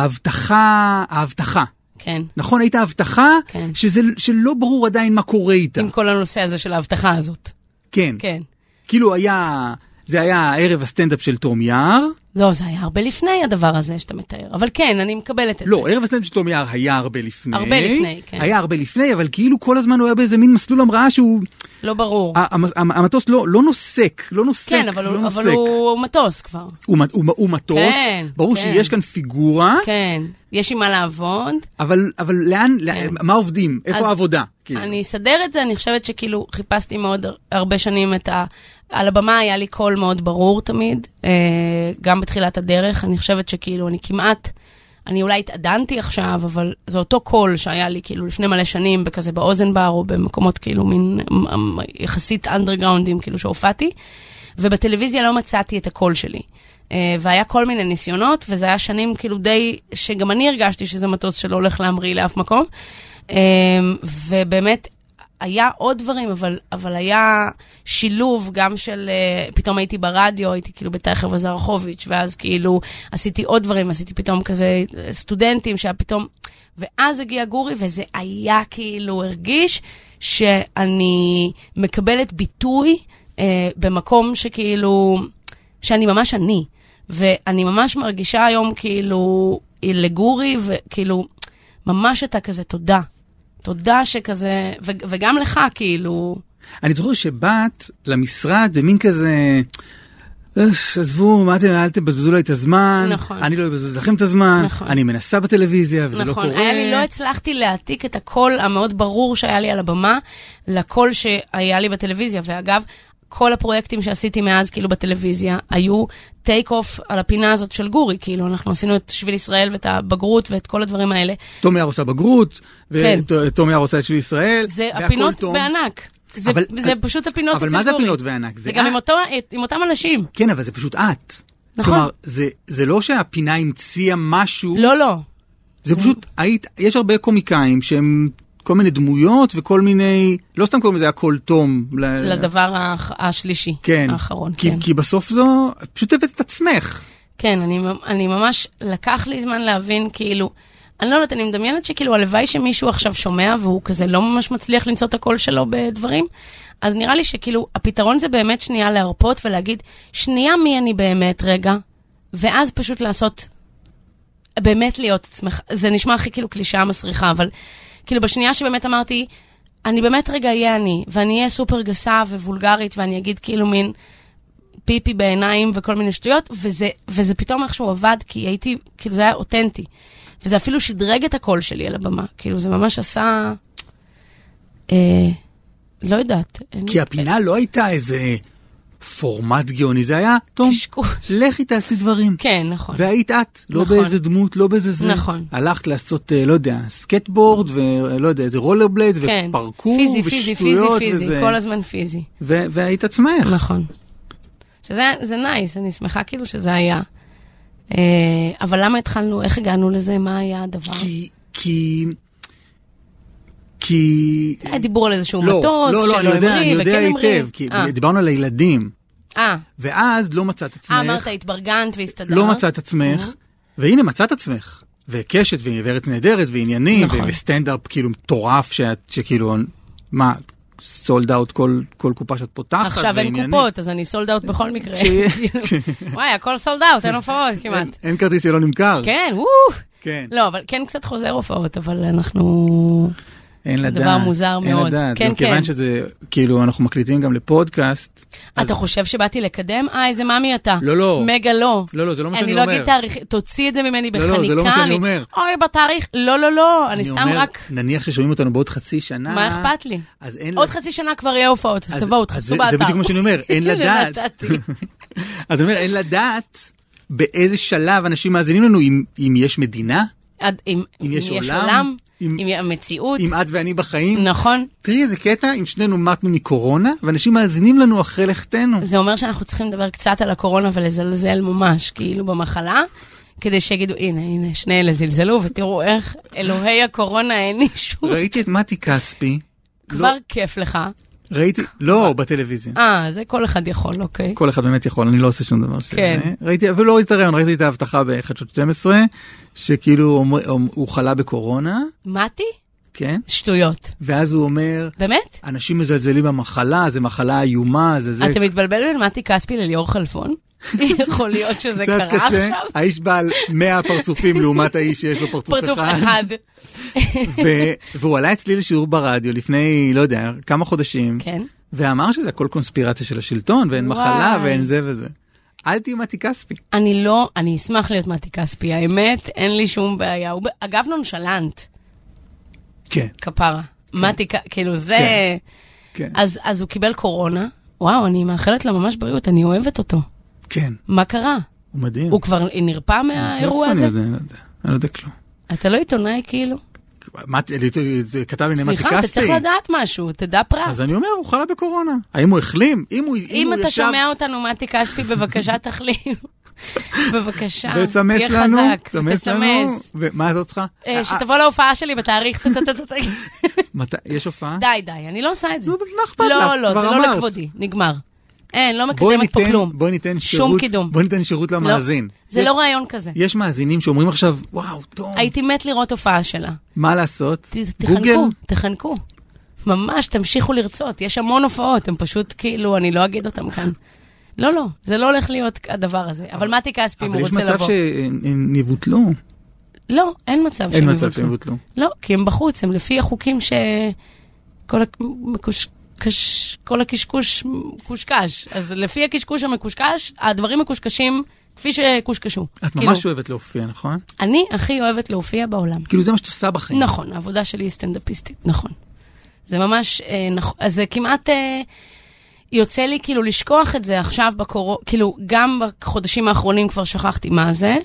Speaker 3: ההבטחה, ההבטחה.
Speaker 4: כן.
Speaker 3: נכון, היית ההבטחה,
Speaker 4: כן.
Speaker 3: שזה, שלא ברור עדיין מה קורה איתה.
Speaker 4: עם כל הנושא הזה של ההבטחה הזאת.
Speaker 3: כן.
Speaker 4: כן.
Speaker 3: כאילו היה, זה היה ערב הסטנדאפ של תום יער.
Speaker 4: לא, זה היה הרבה לפני הדבר הזה שאתה מתאר, אבל כן, אני מקבלת את זה.
Speaker 3: לא, ערב הסטנדאפ של תום יער היה הרבה לפני.
Speaker 4: הרבה לפני, כן.
Speaker 3: היה הרבה לפני, אבל כאילו כל הזמן הוא היה באיזה מין מסלול המראה שהוא...
Speaker 4: לא ברור.
Speaker 3: ה- המ- המ- המטוס לא לא נוסק, לא נוסק,
Speaker 4: כן, אבל
Speaker 3: לא
Speaker 4: הוא- אבל
Speaker 3: נוסק.
Speaker 4: הוא מטוס כבר.
Speaker 3: הוא מט- הוא- הוא מטוס,
Speaker 4: כן,
Speaker 3: ברור
Speaker 4: כן.
Speaker 3: שיש כאן פיגורה,
Speaker 4: כן. יש עם מה לעבוד.
Speaker 3: אבל אבל לאן, לאן- מה עובדים?
Speaker 4: כן. אז
Speaker 3: איפה העבודה? כאילו?
Speaker 4: אני אסדר את זה, אני חושבת שכאילו חיפשתי מאוד הר- הרבה שנים את ה... על הבמה היה לי קול מאוד ברור תמיד, אה, גם בתחילת הדרך. אני חושבת שכאילו, אני כמעט, אני אולי התעדנתי עכשיו, אבל זה אותו קול שהיה לי כאילו לפני מלא שנים, בכזה באוזן בר, או במקומות כאילו מין מ- מ- יחסית אנדרגראונדים, כאילו שהופעתי. ובטלוויזיה לא מצאתי את הקול שלי. אה, והיה כל מיני ניסיונות, וזה היה שנים כאילו די, שגם אני הרגשתי שזה מטוס שלא הולך להמריא לאף מקום. אה, ובאמת, היה עוד דברים, אבל, אבל היה שילוב גם של, אה, פתאום הייתי ברדיו, הייתי כאילו בתייכר וזרחוביץ', ואז כאילו עשיתי עוד דברים, עשיתי פתאום כזה אה, סטודנטים, שהיה פתאום... ואז הגיע גורי, וזה היה כאילו, הרגיש שאני מקבלת ביטוי אה, במקום שכאילו, שאני ממש אני. ואני ממש מרגישה היום כאילו לגורי, וכאילו, ממש אתה כזה תודה. תודה שכזה, ו- וגם לך, כאילו,
Speaker 3: אני זוכר שבאת למשרד במין כזה... "אוף, עזבו, מה אתם, אל תבזבזו לי את הזמן,
Speaker 4: נכון.
Speaker 3: אני לא אבזבז לכם את הזמן,
Speaker 4: נכון.
Speaker 3: אני מנסה בטלוויזיה וזה
Speaker 4: נכון,
Speaker 3: לא קורה.
Speaker 4: היה לי, לא הצלחתי להעתיק את הקול המאוד ברור שהיה לי על הבמה לקול שהיה לי בטלוויזיה. ואגב, כל הפרויקטים שעשיתי מאז, כאילו, בטלוויזיה, היו טייק אוף על הפינה הזאת של גורי, כאילו, אנחנו עשינו את שביל ישראל ואת הבגרות ואת כל הדברים האלה.
Speaker 3: תום יער עושה בגרות,
Speaker 4: כן.
Speaker 3: ותום יער עושה את שביל ישראל,
Speaker 4: זה
Speaker 3: והכל
Speaker 4: הפינות
Speaker 3: תום.
Speaker 4: בענק. זה,
Speaker 3: אבל-
Speaker 4: זה פשוט הפינות
Speaker 3: אבל
Speaker 4: אצל
Speaker 3: מה זה
Speaker 4: גורי.
Speaker 3: הפינות בענק?
Speaker 4: זה,
Speaker 3: זה אה?
Speaker 4: גם
Speaker 3: את.
Speaker 4: עם, אותו, עם אותם אנשים.
Speaker 3: כן, אבל זה פשוט את.
Speaker 4: נכון.
Speaker 3: כלומר, זה, זה לא שהפינה המציאה משהו,
Speaker 4: לא, לא.
Speaker 3: זה פשוט, היית, יש הרבה קומיקאים שהם כל מיני דמויות וכל מיני, לא סתם קוראים לזה הכל תום. ל-
Speaker 4: לדבר האח- השלישי,
Speaker 3: כן.
Speaker 4: האחרון.
Speaker 3: כי,
Speaker 4: כן.
Speaker 3: כי בסוף זו, פשוט הבאת את עצמך.
Speaker 4: כן, אני, ממ- אני ממש, לקח לי זמן להבין, כאילו, אני לא יודעת, אני מדמיינת שכאילו, הלוואי שמישהו עכשיו שומע והוא כזה לא ממש מצליח למצוא את הקול שלו בדברים, אז נראה לי שכאילו, הפתרון זה באמת שנייה להרפות ולהגיד, שנייה מי אני באמת, רגע, ואז פשוט לעשות, באמת להיות עצמך. זה נשמע הכי כאילו קלישאה מסריחה, אבל כאילו, בשנייה שבאמת אמרתי, אני באמת רגע אהיה אני, ואני אהיה סופר גסה ווולגרית, ואני אגיד כאילו מין... פיפי בעיניים וכל מיני שטויות, וזה, וזה פתאום איכשהו עבד, כי הייתי, כאילו זה היה אותנטי. וזה אפילו שדרג את הקול שלי על הבמה. כאילו, זה ממש עשה... אה, לא יודעת. אין-
Speaker 3: כי הפינה לא הייתה איזה פורמט גאוני, זה היה, תום,
Speaker 4: קשקוש.
Speaker 3: לכי תעשי דברים.
Speaker 4: כן, נכון.
Speaker 3: והיית את, לא
Speaker 4: נכון.
Speaker 3: באיזה דמות, לא באיזה זה.
Speaker 4: נכון.
Speaker 3: הלכת לעשות, אה, לא יודע, סקטבורד, ולא יודע, איזה רולר בלייד,
Speaker 4: כן.
Speaker 3: ופרקור,
Speaker 4: פיזי, פיזי, פיזי,
Speaker 3: ושטויות,
Speaker 4: פיזי,
Speaker 3: וזה.
Speaker 4: כל הזמן פיזי.
Speaker 3: ו- והיית עצמך.
Speaker 4: נכון. שזה זה נייס, אני שמחה כאילו שזה היה. אה, אבל למה התחלנו, איך הגענו לזה, מה היה הדבר?
Speaker 3: כי... כי... כי...
Speaker 4: היה דיבור על איזשהו
Speaker 3: לא, לא,
Speaker 4: מטוס,
Speaker 3: לא, אני
Speaker 4: שלא
Speaker 3: יודע, אני
Speaker 4: המריא,
Speaker 3: יודע
Speaker 4: וכן המריא.
Speaker 3: היטב, כי
Speaker 4: אה,
Speaker 3: דיברנו על הילדים,
Speaker 4: אה,
Speaker 3: ואז לא מצאת עצמך.
Speaker 4: אה, אמרת, התברגנת והסתדרת.
Speaker 3: לא מצאת עצמך, והנה מצאת עצמך. וקשת ו- וארץ נהדרת ועניינים
Speaker 4: נכון.
Speaker 3: ו- וסטנדאפ כאילו מטורף שאת שכאילו מה סולד אאוט כל כל קופה שאת פותחת
Speaker 4: עכשיו אין
Speaker 3: ועניינים.
Speaker 4: קופות, אז אני סולד אאוט בכל
Speaker 3: [LAUGHS]
Speaker 4: מקרה.
Speaker 3: כשיהיה-
Speaker 4: כאילו, וואי, הכל סולד אאוט, אין הופעות כמעט.
Speaker 3: אין, אין כרטיס שלא נמכר
Speaker 4: כן, וואו.
Speaker 3: כן
Speaker 4: לא, אבל כן קצת חוזר הופעות, אבל אנחנו...
Speaker 3: אין לדעת
Speaker 4: דבר מוזר
Speaker 3: אין
Speaker 4: מאוד.
Speaker 3: לדעת
Speaker 4: כן,
Speaker 3: גם כיוון
Speaker 4: כן.
Speaker 3: שזה כאילו אנחנו מקליטים גם לפודקאסט אז-
Speaker 4: אתה חושב שבאתי לקדם? אה, איזה מאמי אתה.
Speaker 3: לא, לא.
Speaker 4: מגה לא.
Speaker 3: לא, לא, זה לא מה שאני
Speaker 4: אני לא
Speaker 3: אומר.
Speaker 4: אגיד תאריך, תוציא את זה ממני
Speaker 3: לא,
Speaker 4: בחניקה.
Speaker 3: לא, זה לא מה שאני
Speaker 4: אני-
Speaker 3: אומר.
Speaker 4: אוי, בתאריך, לא, לא, לא, אני סתם
Speaker 3: אומר,
Speaker 4: רק...
Speaker 3: נניח ששומעים אותנו בעוד חצי שנה
Speaker 4: מה אכפת לי?
Speaker 3: אז אה. אין
Speaker 4: עוד
Speaker 3: לדעת.
Speaker 4: חצי שנה כבר יהיה הופעות, אז תבואו,
Speaker 3: אז
Speaker 4: תחפשו
Speaker 3: זה-
Speaker 4: באתר.
Speaker 3: זה בדיוק מה שאני אומר, אין
Speaker 4: [LAUGHS] הנה,
Speaker 3: לדעת.
Speaker 4: נתתי.
Speaker 3: [LAUGHS] אז אני אומר אין לדעת באיזה שלב אנשים מאזינים לנו אם, אם יש מדינה
Speaker 4: עד- אם אם יש עולם,
Speaker 3: אם-
Speaker 4: אם המציאות,
Speaker 3: אם את ואני בחיים.
Speaker 4: נכון.
Speaker 3: תראי איזה קטע אם שנינו מתנו מקורונה ואנשים מאזינים לנו אחרי לכתנו.
Speaker 4: זה אומר שאנחנו צריכים לדבר קצת על הקורונה ולזלזל ממש, כאילו במחלה, כדי שיגידו, הנה, הנה, שני אלה זלזלו, ותראו איך אלוהי הקורונה הענישו.
Speaker 3: ראיתי את מתי כספי.
Speaker 4: כבר כיף לך.
Speaker 3: לא, ראיתי, לא, בטלוויזיה.
Speaker 4: אה, זה כל אחד יכול, אוקיי.
Speaker 3: כל אחד באמת יכול, אני לא עושה שום דבר שזה.
Speaker 4: כן.
Speaker 3: ראיתי, אפילו לא ראיתי את הרעיון, ראיתי את ההבטחה בחדשות 12, שכאילו אומר- הוא חלה בקורונה,
Speaker 4: מתי?
Speaker 3: כן?
Speaker 4: שטויות.
Speaker 3: ואז הוא אומר,
Speaker 4: באמת?
Speaker 3: אנשים מזלזלים במחלה, זה מחלה איומה, זה זה.
Speaker 4: אתה מתבלבל בין מתי כספי לליאור חלפון?
Speaker 3: [LAUGHS]
Speaker 4: יכול להיות שזה
Speaker 3: קצת
Speaker 4: קרה
Speaker 3: קשה.
Speaker 4: עכשיו?
Speaker 3: האיש בעל 100
Speaker 4: [LAUGHS]
Speaker 3: פרצופים לעומת האיש שיש לו פרצוף
Speaker 4: פרצוף
Speaker 3: [LAUGHS]
Speaker 4: אחד.
Speaker 3: ו- והוא עלה אצלי לשיעור ברדיו לפני, לא יודע, כמה חודשים,
Speaker 4: כן.
Speaker 3: ואמר שזה הכל קונספירציה של השלטון, ואין
Speaker 4: וואי.
Speaker 3: מחלה ואין זה וזה. אל תהיי מתי כספי.
Speaker 4: אני לא, אני אשמח להיות מתי כספי, האמת, אין לי שום בעיה. הוא ב- אגב, נונשלנט,
Speaker 3: כן,
Speaker 4: כפרה. מתי, כ- כאילו זה...
Speaker 3: כן. כן,
Speaker 4: אז אז הוא קיבל קורונה, וואו, אני מאחלת לה ממש בריאות, אני אוהבת אותו.
Speaker 3: כן,
Speaker 4: מה קרה?
Speaker 3: הוא מדהים. כן,
Speaker 4: הוא כבר נרפא מהאירוע
Speaker 3: איפה
Speaker 4: הזה?
Speaker 3: אני יודע, אני לא יודע, אני לא יודע כלום.
Speaker 4: אתה לא עיתונאי כאילו?
Speaker 3: מה, כתב לי מתי כספי.
Speaker 4: סליחה, אתה צריך לדעת משהו, תדע פרט.
Speaker 3: אז אני אומר, הוא חלה בקורונה. האם הוא החלים? אם הוא ישב...
Speaker 4: אם אתה שומע אותנו, מתי כספי, בבקשה תחלים. [LAUGHS] בבקשה,
Speaker 3: ותסמס
Speaker 4: תהיה
Speaker 3: לנו,
Speaker 4: חזק,
Speaker 3: תסמס לנו, ומה את עוד צריכה?
Speaker 4: אה, שתבוא להופעה שלי בתאריך, טה, טה, טה, טה, טה.
Speaker 3: [LAUGHS] מתי- יש הופעה?
Speaker 4: די, די, אני לא עושה את זה.
Speaker 3: נו, מה אכפת לך?
Speaker 4: לא, לא,
Speaker 3: כבר
Speaker 4: זה לא
Speaker 3: אמרת.
Speaker 4: לכבודי, נגמר. אין, לא
Speaker 3: בואי
Speaker 4: מקדמת פה
Speaker 3: ניתן,
Speaker 4: כלום.
Speaker 3: בואי ניתן
Speaker 4: שום
Speaker 3: שירות,
Speaker 4: קידום.
Speaker 3: בואי ניתן שירות
Speaker 4: לא,
Speaker 3: למאזין.
Speaker 4: זה
Speaker 3: יש-
Speaker 4: לא רעיון כזה.
Speaker 3: יש מאזינים שאומרים עכשיו, וואו, טוב,
Speaker 4: הייתי מת לראות הופעה שלה.
Speaker 3: מה לעשות?
Speaker 4: ת-
Speaker 3: גוגל?
Speaker 4: תחנקו, תחנקו. ממש, תמשיכו לרצות. יש המון הופעות, הם פשוט כאילו, אני לא אגיד אותם כאן. לא, לא, זה לא הולך להיות הדבר הזה. אבל מתי כספי, אם
Speaker 3: אבל
Speaker 4: הוא
Speaker 3: יש
Speaker 4: רוצה
Speaker 3: מצב
Speaker 4: לבוא.
Speaker 3: שהם יבוטלו.
Speaker 4: לא, אין מצב
Speaker 3: אין
Speaker 4: שהם
Speaker 3: מצב שהם
Speaker 4: יבוטלו.
Speaker 3: יבוטלו.
Speaker 4: לא, כי הם בחוץ, הם לפי החוקים ש... כל הקוש- קש- כל הקשקוש קושקש. אז לפי הקשקוש המקושקש, הדברים מקושקשים כפי שקושקשו.
Speaker 3: את
Speaker 4: כאילו,
Speaker 3: ממש אוהבת להופיע, נכון?
Speaker 4: אני הכי אוהבת להופיע בעולם.
Speaker 3: כאילו זה מה שאת עושה בחיים.
Speaker 4: נכון, העבודה שלי היא סטנדאפיסטית, נכון. זה ממש, אה, נכון, אז זה כמעט אה, יוצא לי כאילו לשכוח את זה עכשיו בקורונה, כאילו גם בחודשים האחרונים כבר שכחתי מה זה,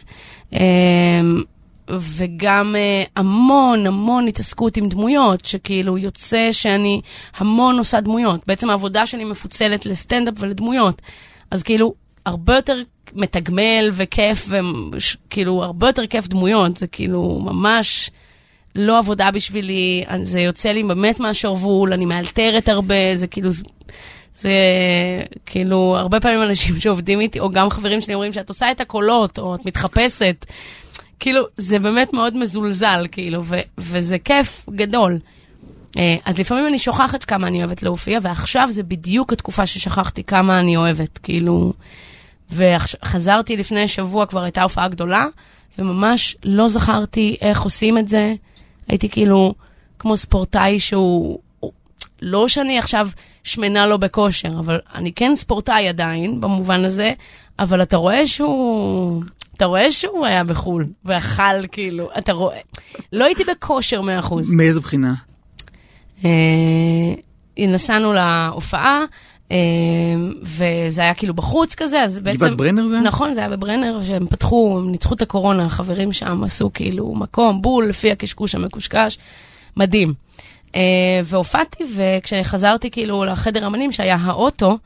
Speaker 4: אה, וגם אה, המון המון התעסקות עם דמויות, שכאילו יוצא שאני המון עושה דמויות. בעצם העבודה שלי מפוצלת לסטנדאפ ולדמויות. אז כאילו, הרבה יותר מתגמל וכיף, וכאילו, הרבה יותר כיף דמויות, זה כאילו ממש... לא עבודה בשבילי, אני- זה יוצא לי באמת מהשרוול, אני מאלתרת הרבה, זה כאילו, זה, זה כאילו, הרבה פעמים אנשים [LAUGHS] שעובדים איתי, או גם חברים שלי אומרים שאת עושה את הקולות, או את מתחפשת. כאילו, זה באמת מאוד מזולזל, כאילו, ו- וזה כיף גדול. אה, אז לפעמים אני שוכחת כמה אני אוהבת להופיע, ועכשיו זה בדיוק התקופה ששכחתי כמה אני אוהבת, כאילו... וחזרתי לפני שבוע, כבר הייתה הופעה גדולה, וממש לא זכרתי איך עושים את זה. הייתי כאילו כמו ספורטאי שהוא... הוא- לא שאני עכשיו שמנה לו בכושר, אבל אני כן ספורטאי עדיין, במובן הזה, אבל אתה רואה שהוא... אתה רואה שהוא היה בחו"ל, ואכל כאילו, אתה רואה. לא הייתי בכושר 100%.
Speaker 3: מאיזו בחינה?
Speaker 4: אה, נסענו להופעה, אה, וזה היה כאילו בחוץ כזה, אז בעצם...
Speaker 3: גבעת ברנר זה?
Speaker 4: נכון, זה היה בברנר, שהם פתחו, הם ניצחו את הקורונה, החברים שם עשו כאילו מקום, בול, לפי הקשקוש המקושקש, מדהים. אה, והופעתי, וכשחזרתי כאילו לחדר אמנים, שהיה האוטו,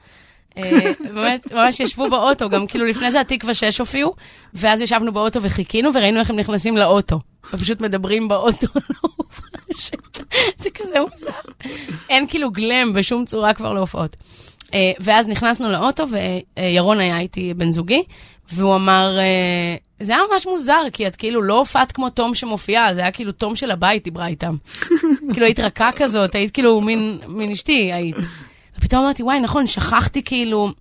Speaker 4: אה, באמת, ממש ישבו באוטו, גם כאילו לפני זה התקווה 6 הופיעו, ואז ישבנו באוטו וחיכינו, וראינו איך הם נכנסים לאוטו. ופשוט מדברים באוטו, [LAUGHS] על ההופעה שלה. זה כזה מוזר. אין כאילו גלם בשום צורה כבר להופעות. אה, ואז נכנסנו לאוטו, וירון היה איתי בן זוגי, והוא אמר, אה, זה היה ממש מוזר, כי את כאילו לא הופעת כמו תום שמופיעה, זה היה כאילו תום של הבית דיברה איתם. [LAUGHS] כאילו היית רכה כזאת, היית כאילו מין, מין אשתי היית. ופתאום אמרתי, וואי, נכון, שכחתי כאילו,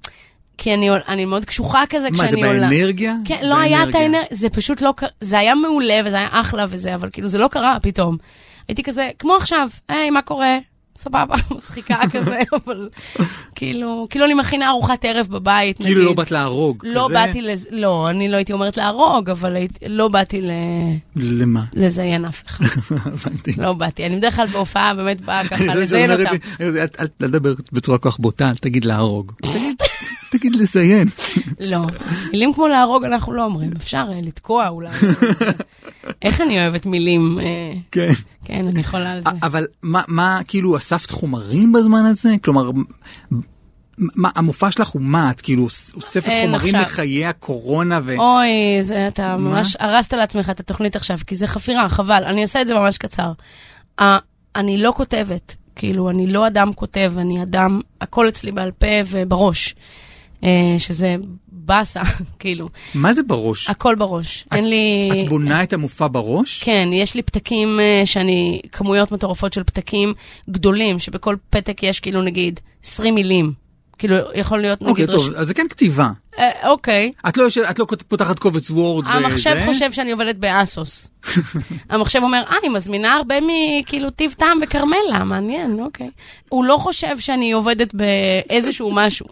Speaker 4: כי אני, עול- אני מאוד קשוחה כזה
Speaker 3: מה, זה
Speaker 4: כשאני עולה.
Speaker 3: באנרגיה?
Speaker 4: כן, לא היה את
Speaker 3: באנרגיה.
Speaker 4: האנרגיה, זה פשוט לא קרה, זה היה מעולה וזה היה אחלה וזה, אבל כאילו זה לא קרה פתאום. הייתי כזה, כמו עכשיו, היי, מה קורה? סבבה, [LAUGHS] מצחיקה
Speaker 3: [LAUGHS]
Speaker 4: כזה, אבל כאילו, כאילו אני מכינה ארוחת ערב בבית, נגיד.
Speaker 3: כאילו לא באת להרוג.
Speaker 4: לא
Speaker 3: כזה?
Speaker 4: באתי לז... לא, אני לא הייתי אומרת להרוג, אבל הייתי... לא באתי ל...
Speaker 3: למה? [LAUGHS]
Speaker 4: לזיין אף אחד.
Speaker 3: הבנתי.
Speaker 4: לא באתי. אני בדרך כלל בהופעה באמת
Speaker 3: [LAUGHS]
Speaker 4: באה ככה
Speaker 3: זה
Speaker 4: לזיין
Speaker 3: שאומרת
Speaker 4: אותם.
Speaker 3: לי, אל- אל אל תדבר בצורה כל כך בוטה, אל תגיד להרוג. תגיד- תגיד לזיין.
Speaker 4: לא. מילים כמו להרוג אנחנו לא אומרים. אפשר אה, לתקוע אולי. אבל זה- איך אני אוהבת מילים. אה,
Speaker 3: כן.
Speaker 4: כן, אני חולה על זה.
Speaker 3: אבל מה, מה, כאילו, אספת חומרים בזמן הזה? כלומר, מ- מה, המופע שלך הוא מה? את כאילו אוס- אוספת
Speaker 4: אין
Speaker 3: חומרים
Speaker 4: אה, עכשיו.
Speaker 3: לחיי הקורונה ו...
Speaker 4: אוי, זה אתה ממש הרסת לעצמך את התוכנית עכשיו, כי זה חפירה, חבל. אני אעשה את זה ממש קצר. אה, אני לא כותבת, כאילו, אני לא אדם כותב, אני אדם, הכל אצלי בעל פה ובראש, אה, שזה באסה, [LAUGHS] כאילו,
Speaker 3: מה זה בראש?
Speaker 4: הכל בראש. אין לי...
Speaker 3: את בונה את המופע בראש?
Speaker 4: כן, יש לי פתקים אה, שאני, כמויות מטורפות של פתקים גדולים, שבכל פתק יש כאילו נגיד 20 מילים. כאילו, יכול להיות נגיד...
Speaker 3: אוקיי, טוב,
Speaker 4: רש-
Speaker 3: אז זה כן כתיבה.
Speaker 4: אה, אוקיי.
Speaker 3: את לא יושב- את לא כות- פותחת קובץ וורד וזה?
Speaker 4: המחשב חושב שאני עובדת באסוס. המחשב אומר, אה, היא מזמינה הרבה מכאילו טיב טעם וכרמלה, מעניין, אוקיי. הוא לא חושב שאני עובדת באיזשהו משהו.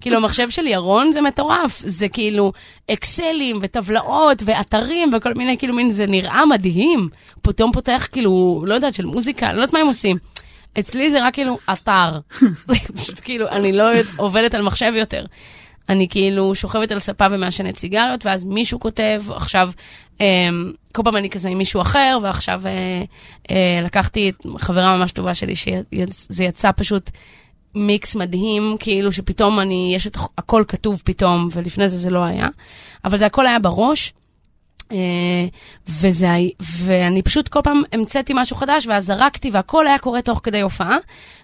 Speaker 4: כאילו, המחשב של ירון זה מטורף. זה כאילו אקסלים וטבלאות ואתרים וכל מיני, כאילו, מין, זה נראה מדהים. פתאום פותח, כאילו, לא יודעת, של מוזיקה, לא יודעת מה הם עושים. אצלי זה רק כאילו אתר. זה פשוט כאילו, אני לא עובדת על מחשב יותר. אני כאילו שוכבת על ספה ומעשנת סיגריות, ואז מישהו כותב, עכשיו, אמ, כל פעם אני כזה עם מישהו אחר, ועכשיו אה, אה, לקחתי את חברה ממש טובה שלי, שזה יצא פשוט מיקס מדהים, כאילו שפתאום אני, יש את הכל כתוב פתאום, ולפני זה זה לא היה. אבל זה הכל היה בראש. אה, וזה, הי- ואני פשוט כל פעם המצאתי משהו חדש, ואז זרקתי, והכל היה קורה תוך כדי הופעה,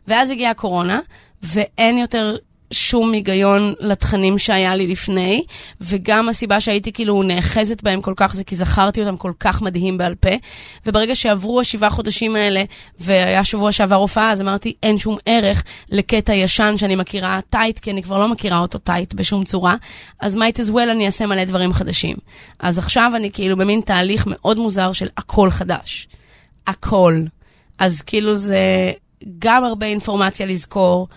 Speaker 4: ואז הגיעה הקורונה, ואין יותר שום היגיון לתכנים שהיה לי לפני, וגם הסיבה שהייתי כאילו נאחזת בהם כל כך זה כי זכרתי אותם כל כך מדהים בעל פה, וברגע שעברו השבעה חודשים האלה, והיה שבוע שעבר הופעה, אז אמרתי, אין שום ערך לקטע ישן שאני מכירה טייט, כי אני כבר לא מכירה אותו טייט בשום צורה, אז might as well אני אעשה מלא דברים חדשים. אז עכשיו אני כאילו במין תהליך מאוד מוזר של הכל חדש. הכל. אז כאילו זה גם הרבה אינפורמציה לזכור.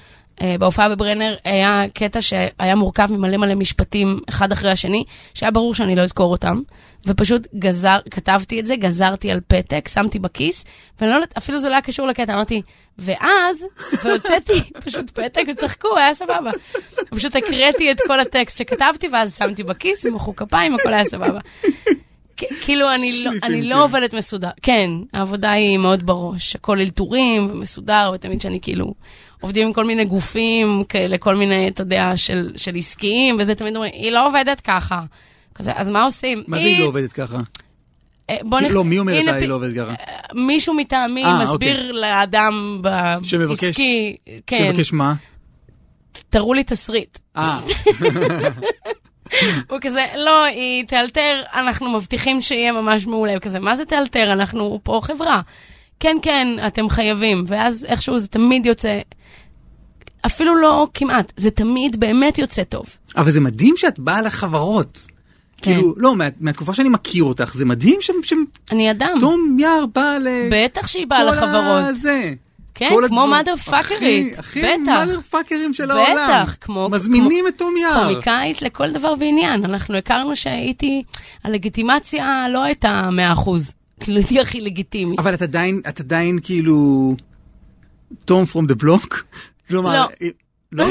Speaker 4: אה, בהופעה בברנר היה קטע שהיה מורכב ממלא מלא משפטים אחד אחרי השני, שהיה ברור שאני לא אזכור אותם, ופשוט גזר, כתבתי את זה, גזרתי על פתק, שמתי בכיס, ואני לא יודעת, אפילו זה לא היה קשור לקטע, אמרתי, ואז, והוצאתי [LAUGHS] פשוט פתק, וצחקו, היה סבבה. פשוט הקראתי את כל הטקסט שכתבתי, ואז שמתי בכיס, ומחאו כפיים, הכל היה סבבה. כ- כאילו, אני, לא, אני לא עובדת מסודר. כן, העבודה היא מאוד בראש. הכל אלתורים ומסודר, ותמיד שאני כאילו... עובדים עם כל מיני גופים, כאלה, כל מיני, אתה יודע, של, של עסקיים, וזה תמיד אומרים, היא לא עובדת ככה. כזה, אז מה עושים?
Speaker 3: מה זה היא לא עובדת ככה?
Speaker 4: אה, בוא
Speaker 3: כי-
Speaker 4: נכ-
Speaker 3: לא, מי אומר
Speaker 4: הנה
Speaker 3: לה היא
Speaker 4: פ-
Speaker 3: לא עובדת ככה?
Speaker 4: מישהו מטעמי
Speaker 3: אה,
Speaker 4: מסביר לאדם בעסקי,
Speaker 3: שמבקש-
Speaker 4: כן,
Speaker 3: שיבקש מה?
Speaker 4: תראו לי תסריט.
Speaker 3: אה,
Speaker 4: הוא כזה, לא, היא תאלתר, אנחנו מבטיחים שיהיה ממש מעולה. כזה, מה זה תאלתר? אנחנו פה חברה. כן, כן, אתם חייבים. ואז איכשהו זה תמיד יוצא, אפילו לא כמעט, זה תמיד באמת יוצא טוב.
Speaker 3: אבל זה מדהים שאת באה לחברות.
Speaker 4: כן.
Speaker 3: כאילו, לא, מה- מהתקופה שאני מכיר אותך, זה מדהים ש-
Speaker 4: אני אדם.
Speaker 3: שתום יער באה ל...
Speaker 4: בטח שהיא באה
Speaker 3: כל
Speaker 4: לחברות.
Speaker 3: הזה.
Speaker 4: כן,
Speaker 3: כל
Speaker 4: כמו
Speaker 3: הדבר-
Speaker 4: motherfuckerית,
Speaker 3: הכי- הכי
Speaker 4: בטח.
Speaker 3: motherfuckerים של העולם.
Speaker 4: בטח, כמו-
Speaker 3: מזמינים את תום יער.
Speaker 4: קומיקאית לכל דבר ועניין. אנחנו הכרנו שהייתי, הלגיטימציה לא הייתה 100%. כאילו, הייתי הכי לגיטימית.
Speaker 3: אבל את עדיין, את עדיין כאילו... תום פרום דה בלוק? [LAUGHS] כלומר...
Speaker 4: [LAUGHS]
Speaker 3: לא.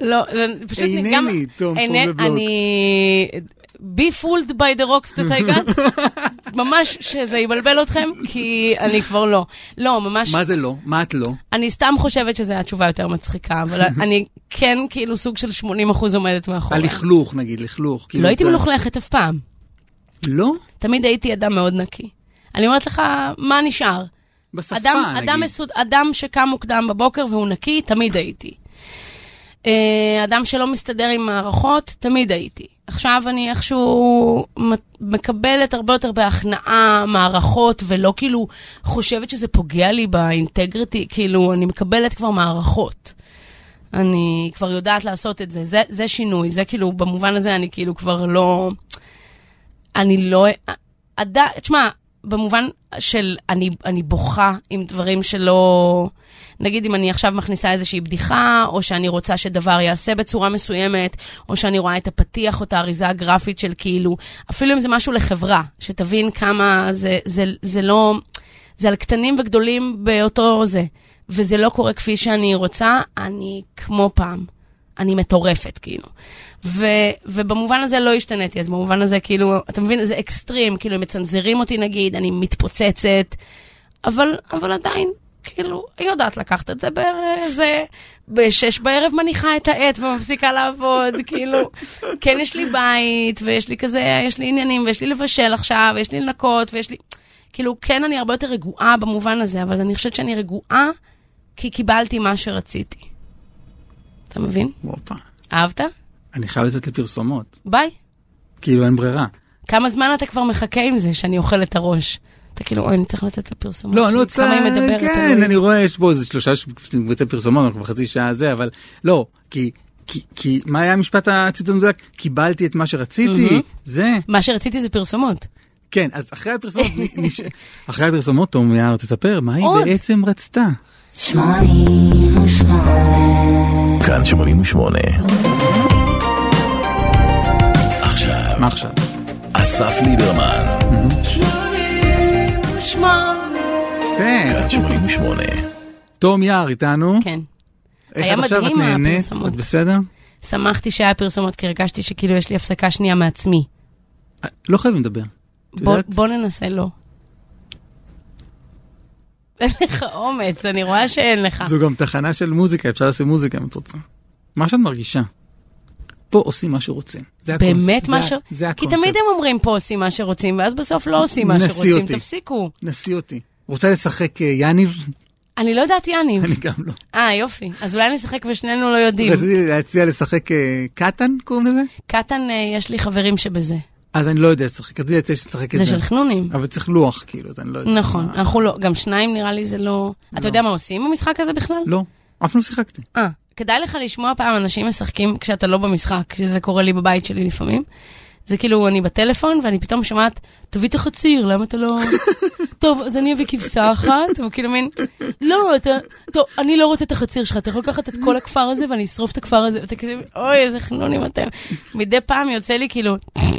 Speaker 4: לא, זה פשוט...
Speaker 3: אינני
Speaker 4: גם-
Speaker 3: תום פול
Speaker 4: אינני-
Speaker 3: בבלוק.
Speaker 4: אני... be fooled by the rocks that I
Speaker 3: [LAUGHS]
Speaker 4: got, ממש שזה יבלבל אתכם, כי אני כבר לא. לא, ממש,
Speaker 3: מה זה לא? מה את לא?
Speaker 4: אני סתם חושבת שזו התשובה יותר מצחיקה,
Speaker 3: [LAUGHS]
Speaker 4: אבל אני כן כאילו סוג של 80 אחוז עומדת מאחוריה.
Speaker 3: הלכלוך, נגיד, לכלוך. כאילו,
Speaker 4: לא הייתי
Speaker 3: אתה-
Speaker 4: מלוכלכת אף פעם,
Speaker 3: לא?
Speaker 4: תמיד הייתי אדם מאוד נקי. אני אומרת לך, מה נשאר?
Speaker 3: בשפה,
Speaker 4: אדם,
Speaker 3: נגיד.
Speaker 4: אדם, מסוד, אדם שקם מוקדם בבוקר והוא נקי, תמיד הייתי. אה, אדם שלא מסתדר עם מערכות, תמיד הייתי. עכשיו אני איכשהו מ- מקבלת הרבה יותר בהכנעה מערכות, ולא כאילו חושבת שזה פוגע לי באינטגריטי, כאילו, אני מקבלת כבר מערכות. אני כבר יודעת לעשות את זה. זה, זה שינוי, זה כאילו, במובן הזה אני כאילו כבר לא... אני לא... עד... תשמע, במובן של אני, אני בוכה עם דברים שלא... נגיד אם אני עכשיו מכניסה איזושהי בדיחה, או שאני רוצה שדבר ייעשה בצורה מסוימת, או שאני רואה את הפתיח או את האריזה הגרפית של כאילו, אפילו אם זה משהו לחברה, שתבין כמה זה, זה, זה לא... זה על קטנים וגדולים באותו זה. וזה לא קורה כפי שאני רוצה, אני כמו פעם. אני מטורפת, כאילו. ו, ובמובן הזה לא השתניתי, אז במובן הזה, כאילו, אתה מבין, זה אקסטרים, כאילו, הם מצנזרים אותי, נגיד, אני מתפוצצת, אבל, אבל עדיין, כאילו, היא יודעת לקחת את זה באיזה... בשש בערב מניחה את העט ומפסיקה לעבוד, [LAUGHS] כאילו, כן, יש לי בית, ויש לי כזה, יש לי עניינים, ויש לי לבשל עכשיו, ויש לי לנקות, ויש לי... כאילו, כן, אני הרבה יותר רגועה במובן הזה, אבל אני חושבת שאני רגועה כי קיבלתי מה שרציתי. אתה מבין?
Speaker 3: הופה.
Speaker 4: אהבת?
Speaker 3: אני חייב לצאת לפרסומות.
Speaker 4: ביי.
Speaker 3: כאילו, אין ברירה.
Speaker 4: כמה זמן אתה כבר מחכה עם זה שאני אוכל את הראש? אתה כאילו, אוי, אני צריך לתת לה פרסומות.
Speaker 3: לא, אני לא
Speaker 4: שלי,
Speaker 3: רוצה...
Speaker 4: כמה היא מדברת,
Speaker 3: כן,
Speaker 4: אלוהים.
Speaker 3: אני רואה, יש פה איזה שלושה ש- אני רוצה פרסומות, אנחנו בחצי שעה זה, אבל לא, כי... כי, כי מה היה המשפט הציטוט המדויק? קיבלתי את מה שרציתי,
Speaker 4: מהמם.
Speaker 3: זה.
Speaker 4: מה שרציתי זה פרסומות.
Speaker 3: כן, אז אחרי הפרסומות,
Speaker 4: [LAUGHS]
Speaker 3: נ- נש... אחרי הפרסומות, תום יער, תספר, מה היא
Speaker 4: עוד.
Speaker 3: בעצם רצתה?
Speaker 1: שמונים ושמונה,
Speaker 2: כאן 88. עכשיו,
Speaker 3: מה עכשיו?
Speaker 2: אסף ליברמן.
Speaker 4: שמע.
Speaker 3: יפה.
Speaker 2: כאן 88.
Speaker 3: תום יער איתנו.
Speaker 4: כן. היה
Speaker 3: איך את עכשיו את
Speaker 4: מדהים
Speaker 3: נהנית?
Speaker 4: הפרסומות.
Speaker 3: את בסדר?
Speaker 4: שמחתי שהיה פרסומות, כי הרגשתי שכאילו יש לי הפסקה שנייה מעצמי.
Speaker 3: אה, לא חייבים לדבר. את
Speaker 4: בוא-
Speaker 3: יודעת?
Speaker 4: בוא ננסה לא. אין לך אומץ, אני רואה שאין לך.
Speaker 3: זו גם תחנה של מוזיקה, אפשר לעשות מוזיקה אם את רוצה. מה שאת מרגישה. פה עושים מה שרוצים. זה הקונספט.
Speaker 4: באמת מה
Speaker 3: זה
Speaker 4: ש...
Speaker 3: ה- זה
Speaker 4: כי
Speaker 3: הקונספט.
Speaker 4: תמיד הם אומרים פה עושים מה שרוצים, ואז בסוף לא עושים מה
Speaker 3: נסי
Speaker 4: שרוצים.
Speaker 3: אותי.
Speaker 4: תפסיקו.
Speaker 3: נשיא אותי. רוצה לשחק אה,
Speaker 4: [LAUGHS]
Speaker 3: יניב?
Speaker 4: אני לא יודעת יניב.
Speaker 3: אני גם לא.
Speaker 4: אה, יופי. אז אולי נשחק ושנינו לא יודעים.
Speaker 3: רציתי להציע לשחק אה, קטן, קוראים לזה?
Speaker 4: קטן, אה, יש לי חברים שבזה.
Speaker 3: אז אני לא יודע לשחק. רציתי להציע שתשחק את
Speaker 4: זה
Speaker 3: זה.
Speaker 4: של חנונים.
Speaker 3: אבל צריך לוח, כאילו, אז אני לא יודע.
Speaker 4: נכון,
Speaker 3: מה-
Speaker 4: אנחנו לא, גם שניים נראה לי זה לא... אתה יודע מה עושים במשחק הזה בכלל?
Speaker 3: לא, אף פעם לא שיחקתי.
Speaker 4: אה, כדאי לך לשמוע פעם אנשים משחקים כשאתה לא במשחק, שזה קורה לי בבית שלי לפעמים. זה כאילו, אני בטלפון, ואני פתאום שומעת, תביא את החציר, למה אתה לא... טוב, אז אני אביא כבשה אחת, והוא כאילו מין, לא, אתה... טוב, אני לא רוצה את החציר שלך, אתה יכול לקחת את כל הכפר הזה ואני אשרוף את הכפר הזה, ואתה כזה, אוי, איזה חנונים אתם. מדי פעם יוצא לי כאילו... [LAUGHS]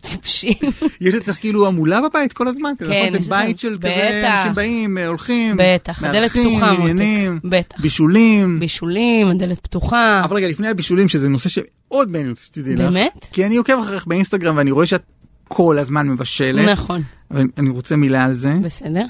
Speaker 4: טיפשים.
Speaker 3: יש לך כאילו המולה בבית כל הזמן? כזה,
Speaker 4: כן,
Speaker 3: נכון?
Speaker 4: יש
Speaker 3: אתם בית
Speaker 4: לנו-
Speaker 3: של כזה,
Speaker 4: בטח.
Speaker 3: אנשים באים, אה, הולכים,
Speaker 4: בטח, הדלת
Speaker 3: מהלכים,
Speaker 4: פתוחה,
Speaker 3: עניינים,
Speaker 4: מותק. בטח.
Speaker 3: בישולים.
Speaker 4: בישולים, הדלת פתוחה.
Speaker 3: אבל לא- רגע, לפני הבישולים, שזה נושא שמאוד מעניין אותי, שתדעי לך.
Speaker 4: באמת?
Speaker 3: כי אני עוקב אחריך באינסטגרם ואני רואה שאת כל הזמן מבשלת.
Speaker 4: נכון,
Speaker 3: אבל אני רוצה מילה על זה.
Speaker 4: בסדר.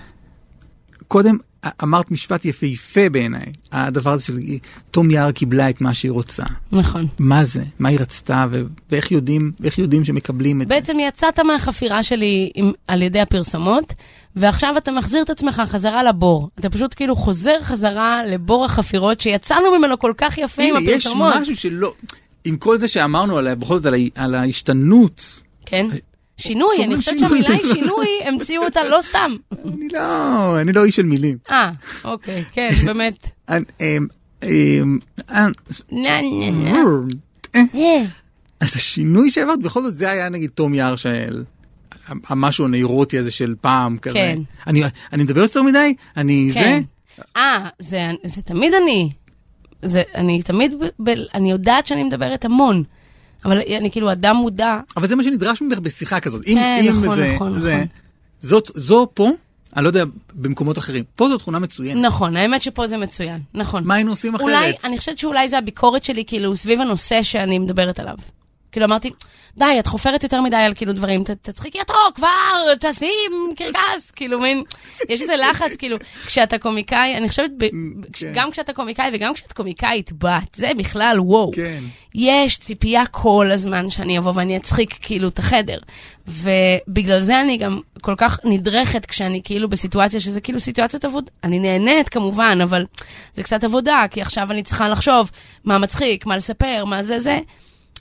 Speaker 3: קודם א- אמרת משפט יפהפה בעיניי, הדבר הזה של אה, תום יער קיבלה את מה שהיא רוצה.
Speaker 4: נכון.
Speaker 3: מה זה? מה היא רצתה ו- ואיך יודעים, ואיך יודעים שמקבלים את זה?
Speaker 4: בעצם יצאת מהחפירה שלי עם, על ידי הפרסומות, ועכשיו אתה מחזיר את עצמך חזרה לבור. אתה פשוט כאילו חוזר חזרה לבור החפירות שיצאנו ממנו כל כך יפה עם
Speaker 3: הנה, יש
Speaker 4: הפרסומות.
Speaker 3: משהו שלא... עם כל זה שאמרנו עליה, בכל זאת על ה- על ההשתנות,
Speaker 4: כן. שינוי, אני
Speaker 3: שאומרים
Speaker 4: חושבת
Speaker 3: אה, שינוי.
Speaker 4: שהמילה היא שינוי, המציאו אותה לא סתם.
Speaker 3: אני לא, אני לא איש של מילים.
Speaker 4: אה, אוקיי, כן, באמת.
Speaker 3: אני- אמ, אמ, אמ,
Speaker 4: נה, נה,
Speaker 3: Mm.
Speaker 4: נה. אה.
Speaker 3: אז השינוי שהעברת, בכל זאת זה היה נגיד תום יער של המשהו הנעירותי הזה של פעם כזה.
Speaker 4: כן.
Speaker 3: אני, אני מדבר יותר מדי? אני
Speaker 4: כן.
Speaker 3: זה?
Speaker 4: אה, זה, זה תמיד אני. זה, אני תמיד, ב, ב, אני יודעת שאני מדברת המון, אבל אני כאילו אדם מודע.
Speaker 3: אבל זה מה שנדרש ממך בשיחה כזאת. אם,
Speaker 4: כן,
Speaker 3: אם
Speaker 4: נכון,
Speaker 3: זה,
Speaker 4: נכון,
Speaker 3: זה,
Speaker 4: נכון.
Speaker 3: זאת, זו פה, אני לא יודע, במקומות אחרים. פה זו תכונה מצוינת.
Speaker 4: נכון, האמת שפה זה מצוין, נכון.
Speaker 3: מה היינו עושים אחרת?
Speaker 4: אולי, אני חושבת שאולי זה הביקורת שלי, כאילו, סביב הנושא שאני מדברת עליו. כאילו, אמרתי, די, את חופרת יותר מדי על כאילו דברים, ת- תצחיקי אותו כבר, תשים קרקס, כאילו, מין, יש איזה לחץ, כאילו, כשאתה קומיקאי, אני חושבת, ב, ב- כש-
Speaker 3: כן.
Speaker 4: גם כשאתה קומיקאי וגם כשאת קומיקאית בת, זה בכלל וואו.
Speaker 3: כן.
Speaker 4: יש ציפייה כל הזמן שאני אבוא ואני אצחיק כאילו את החדר. ובגלל זה אני גם כל כך נדרכת כשאני כאילו בסיטואציה שזה כאילו סיטואציית עבודה. אני נהנית כמובן, אבל זה קצת עבודה, כי עכשיו אני צריכה לחשוב מה מצחיק, מה לספר, מה זה זה.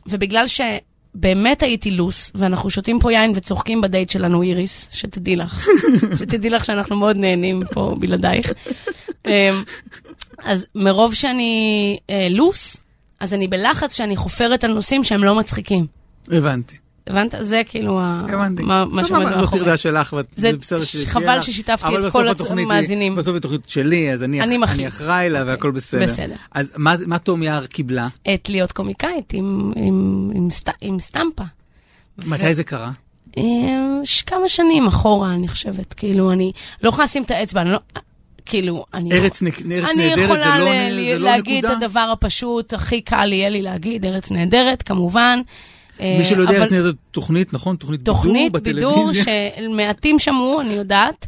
Speaker 4: ובגלל שבאמת הייתי לוס, ואנחנו שותים פה יין וצוחקים בדייט שלנו, איריס, שתדעי לך. שתדעי לך שאנחנו מאוד נהנים פה בלעדייך. אמ, אז מרוב שאני אה, לוס, אז אני בלחץ שאני חופרת על נושאים שהם לא מצחיקים.
Speaker 3: הבנתי,
Speaker 4: הבנת? זה כאילו ה...
Speaker 3: הבנתי.
Speaker 4: מה, מה שעומד
Speaker 3: סבבה, לא זאת
Speaker 4: מאחורי.
Speaker 3: טרדה שלך, ואת-
Speaker 4: זה-
Speaker 3: זה בסדר
Speaker 4: ש-
Speaker 3: שתהיה לך.
Speaker 4: חבל ששיתפתי
Speaker 3: אבל
Speaker 4: את
Speaker 3: בסוף
Speaker 4: כל הצ-
Speaker 3: התוכנית היא-
Speaker 4: המאזינים.
Speaker 3: בסוף התוכנית שלי, אז אני
Speaker 4: אני
Speaker 3: אח-
Speaker 4: מחליט. אוקיי.
Speaker 3: אני אחראי לה והכל בסדר.
Speaker 4: בסדר.
Speaker 3: אז מה זה- מה תום יער קיבלה?
Speaker 4: את להיות קומיקאית עם, עם, עם, סט, עם סטמפה.
Speaker 3: מתי זה קרה?
Speaker 4: אה, ש- כמה שנים אחורה, אני חושבת. כאילו, אני לא יכולה לשים את האצבע, אני לא... כאילו, אני...
Speaker 3: ארץ נק- ארץ
Speaker 4: אני
Speaker 3: נהדרת,
Speaker 4: יכולה
Speaker 3: זה לא
Speaker 4: ל-
Speaker 3: נ-
Speaker 4: ל-
Speaker 3: זה לא
Speaker 4: להגיד את
Speaker 3: נקודה?
Speaker 4: הדבר הפשוט, הכי קל יהיה לי להגיד, ארץ נהדרת, כמובן. אה,
Speaker 3: מי שלא יודע,
Speaker 4: אבל-
Speaker 3: ארץ נהדרת תוכנית, נכון? תוכנית בידור
Speaker 4: תוכנית
Speaker 3: בטלוויזיה.
Speaker 4: בידור שמעטים שמעו, אני יודעת.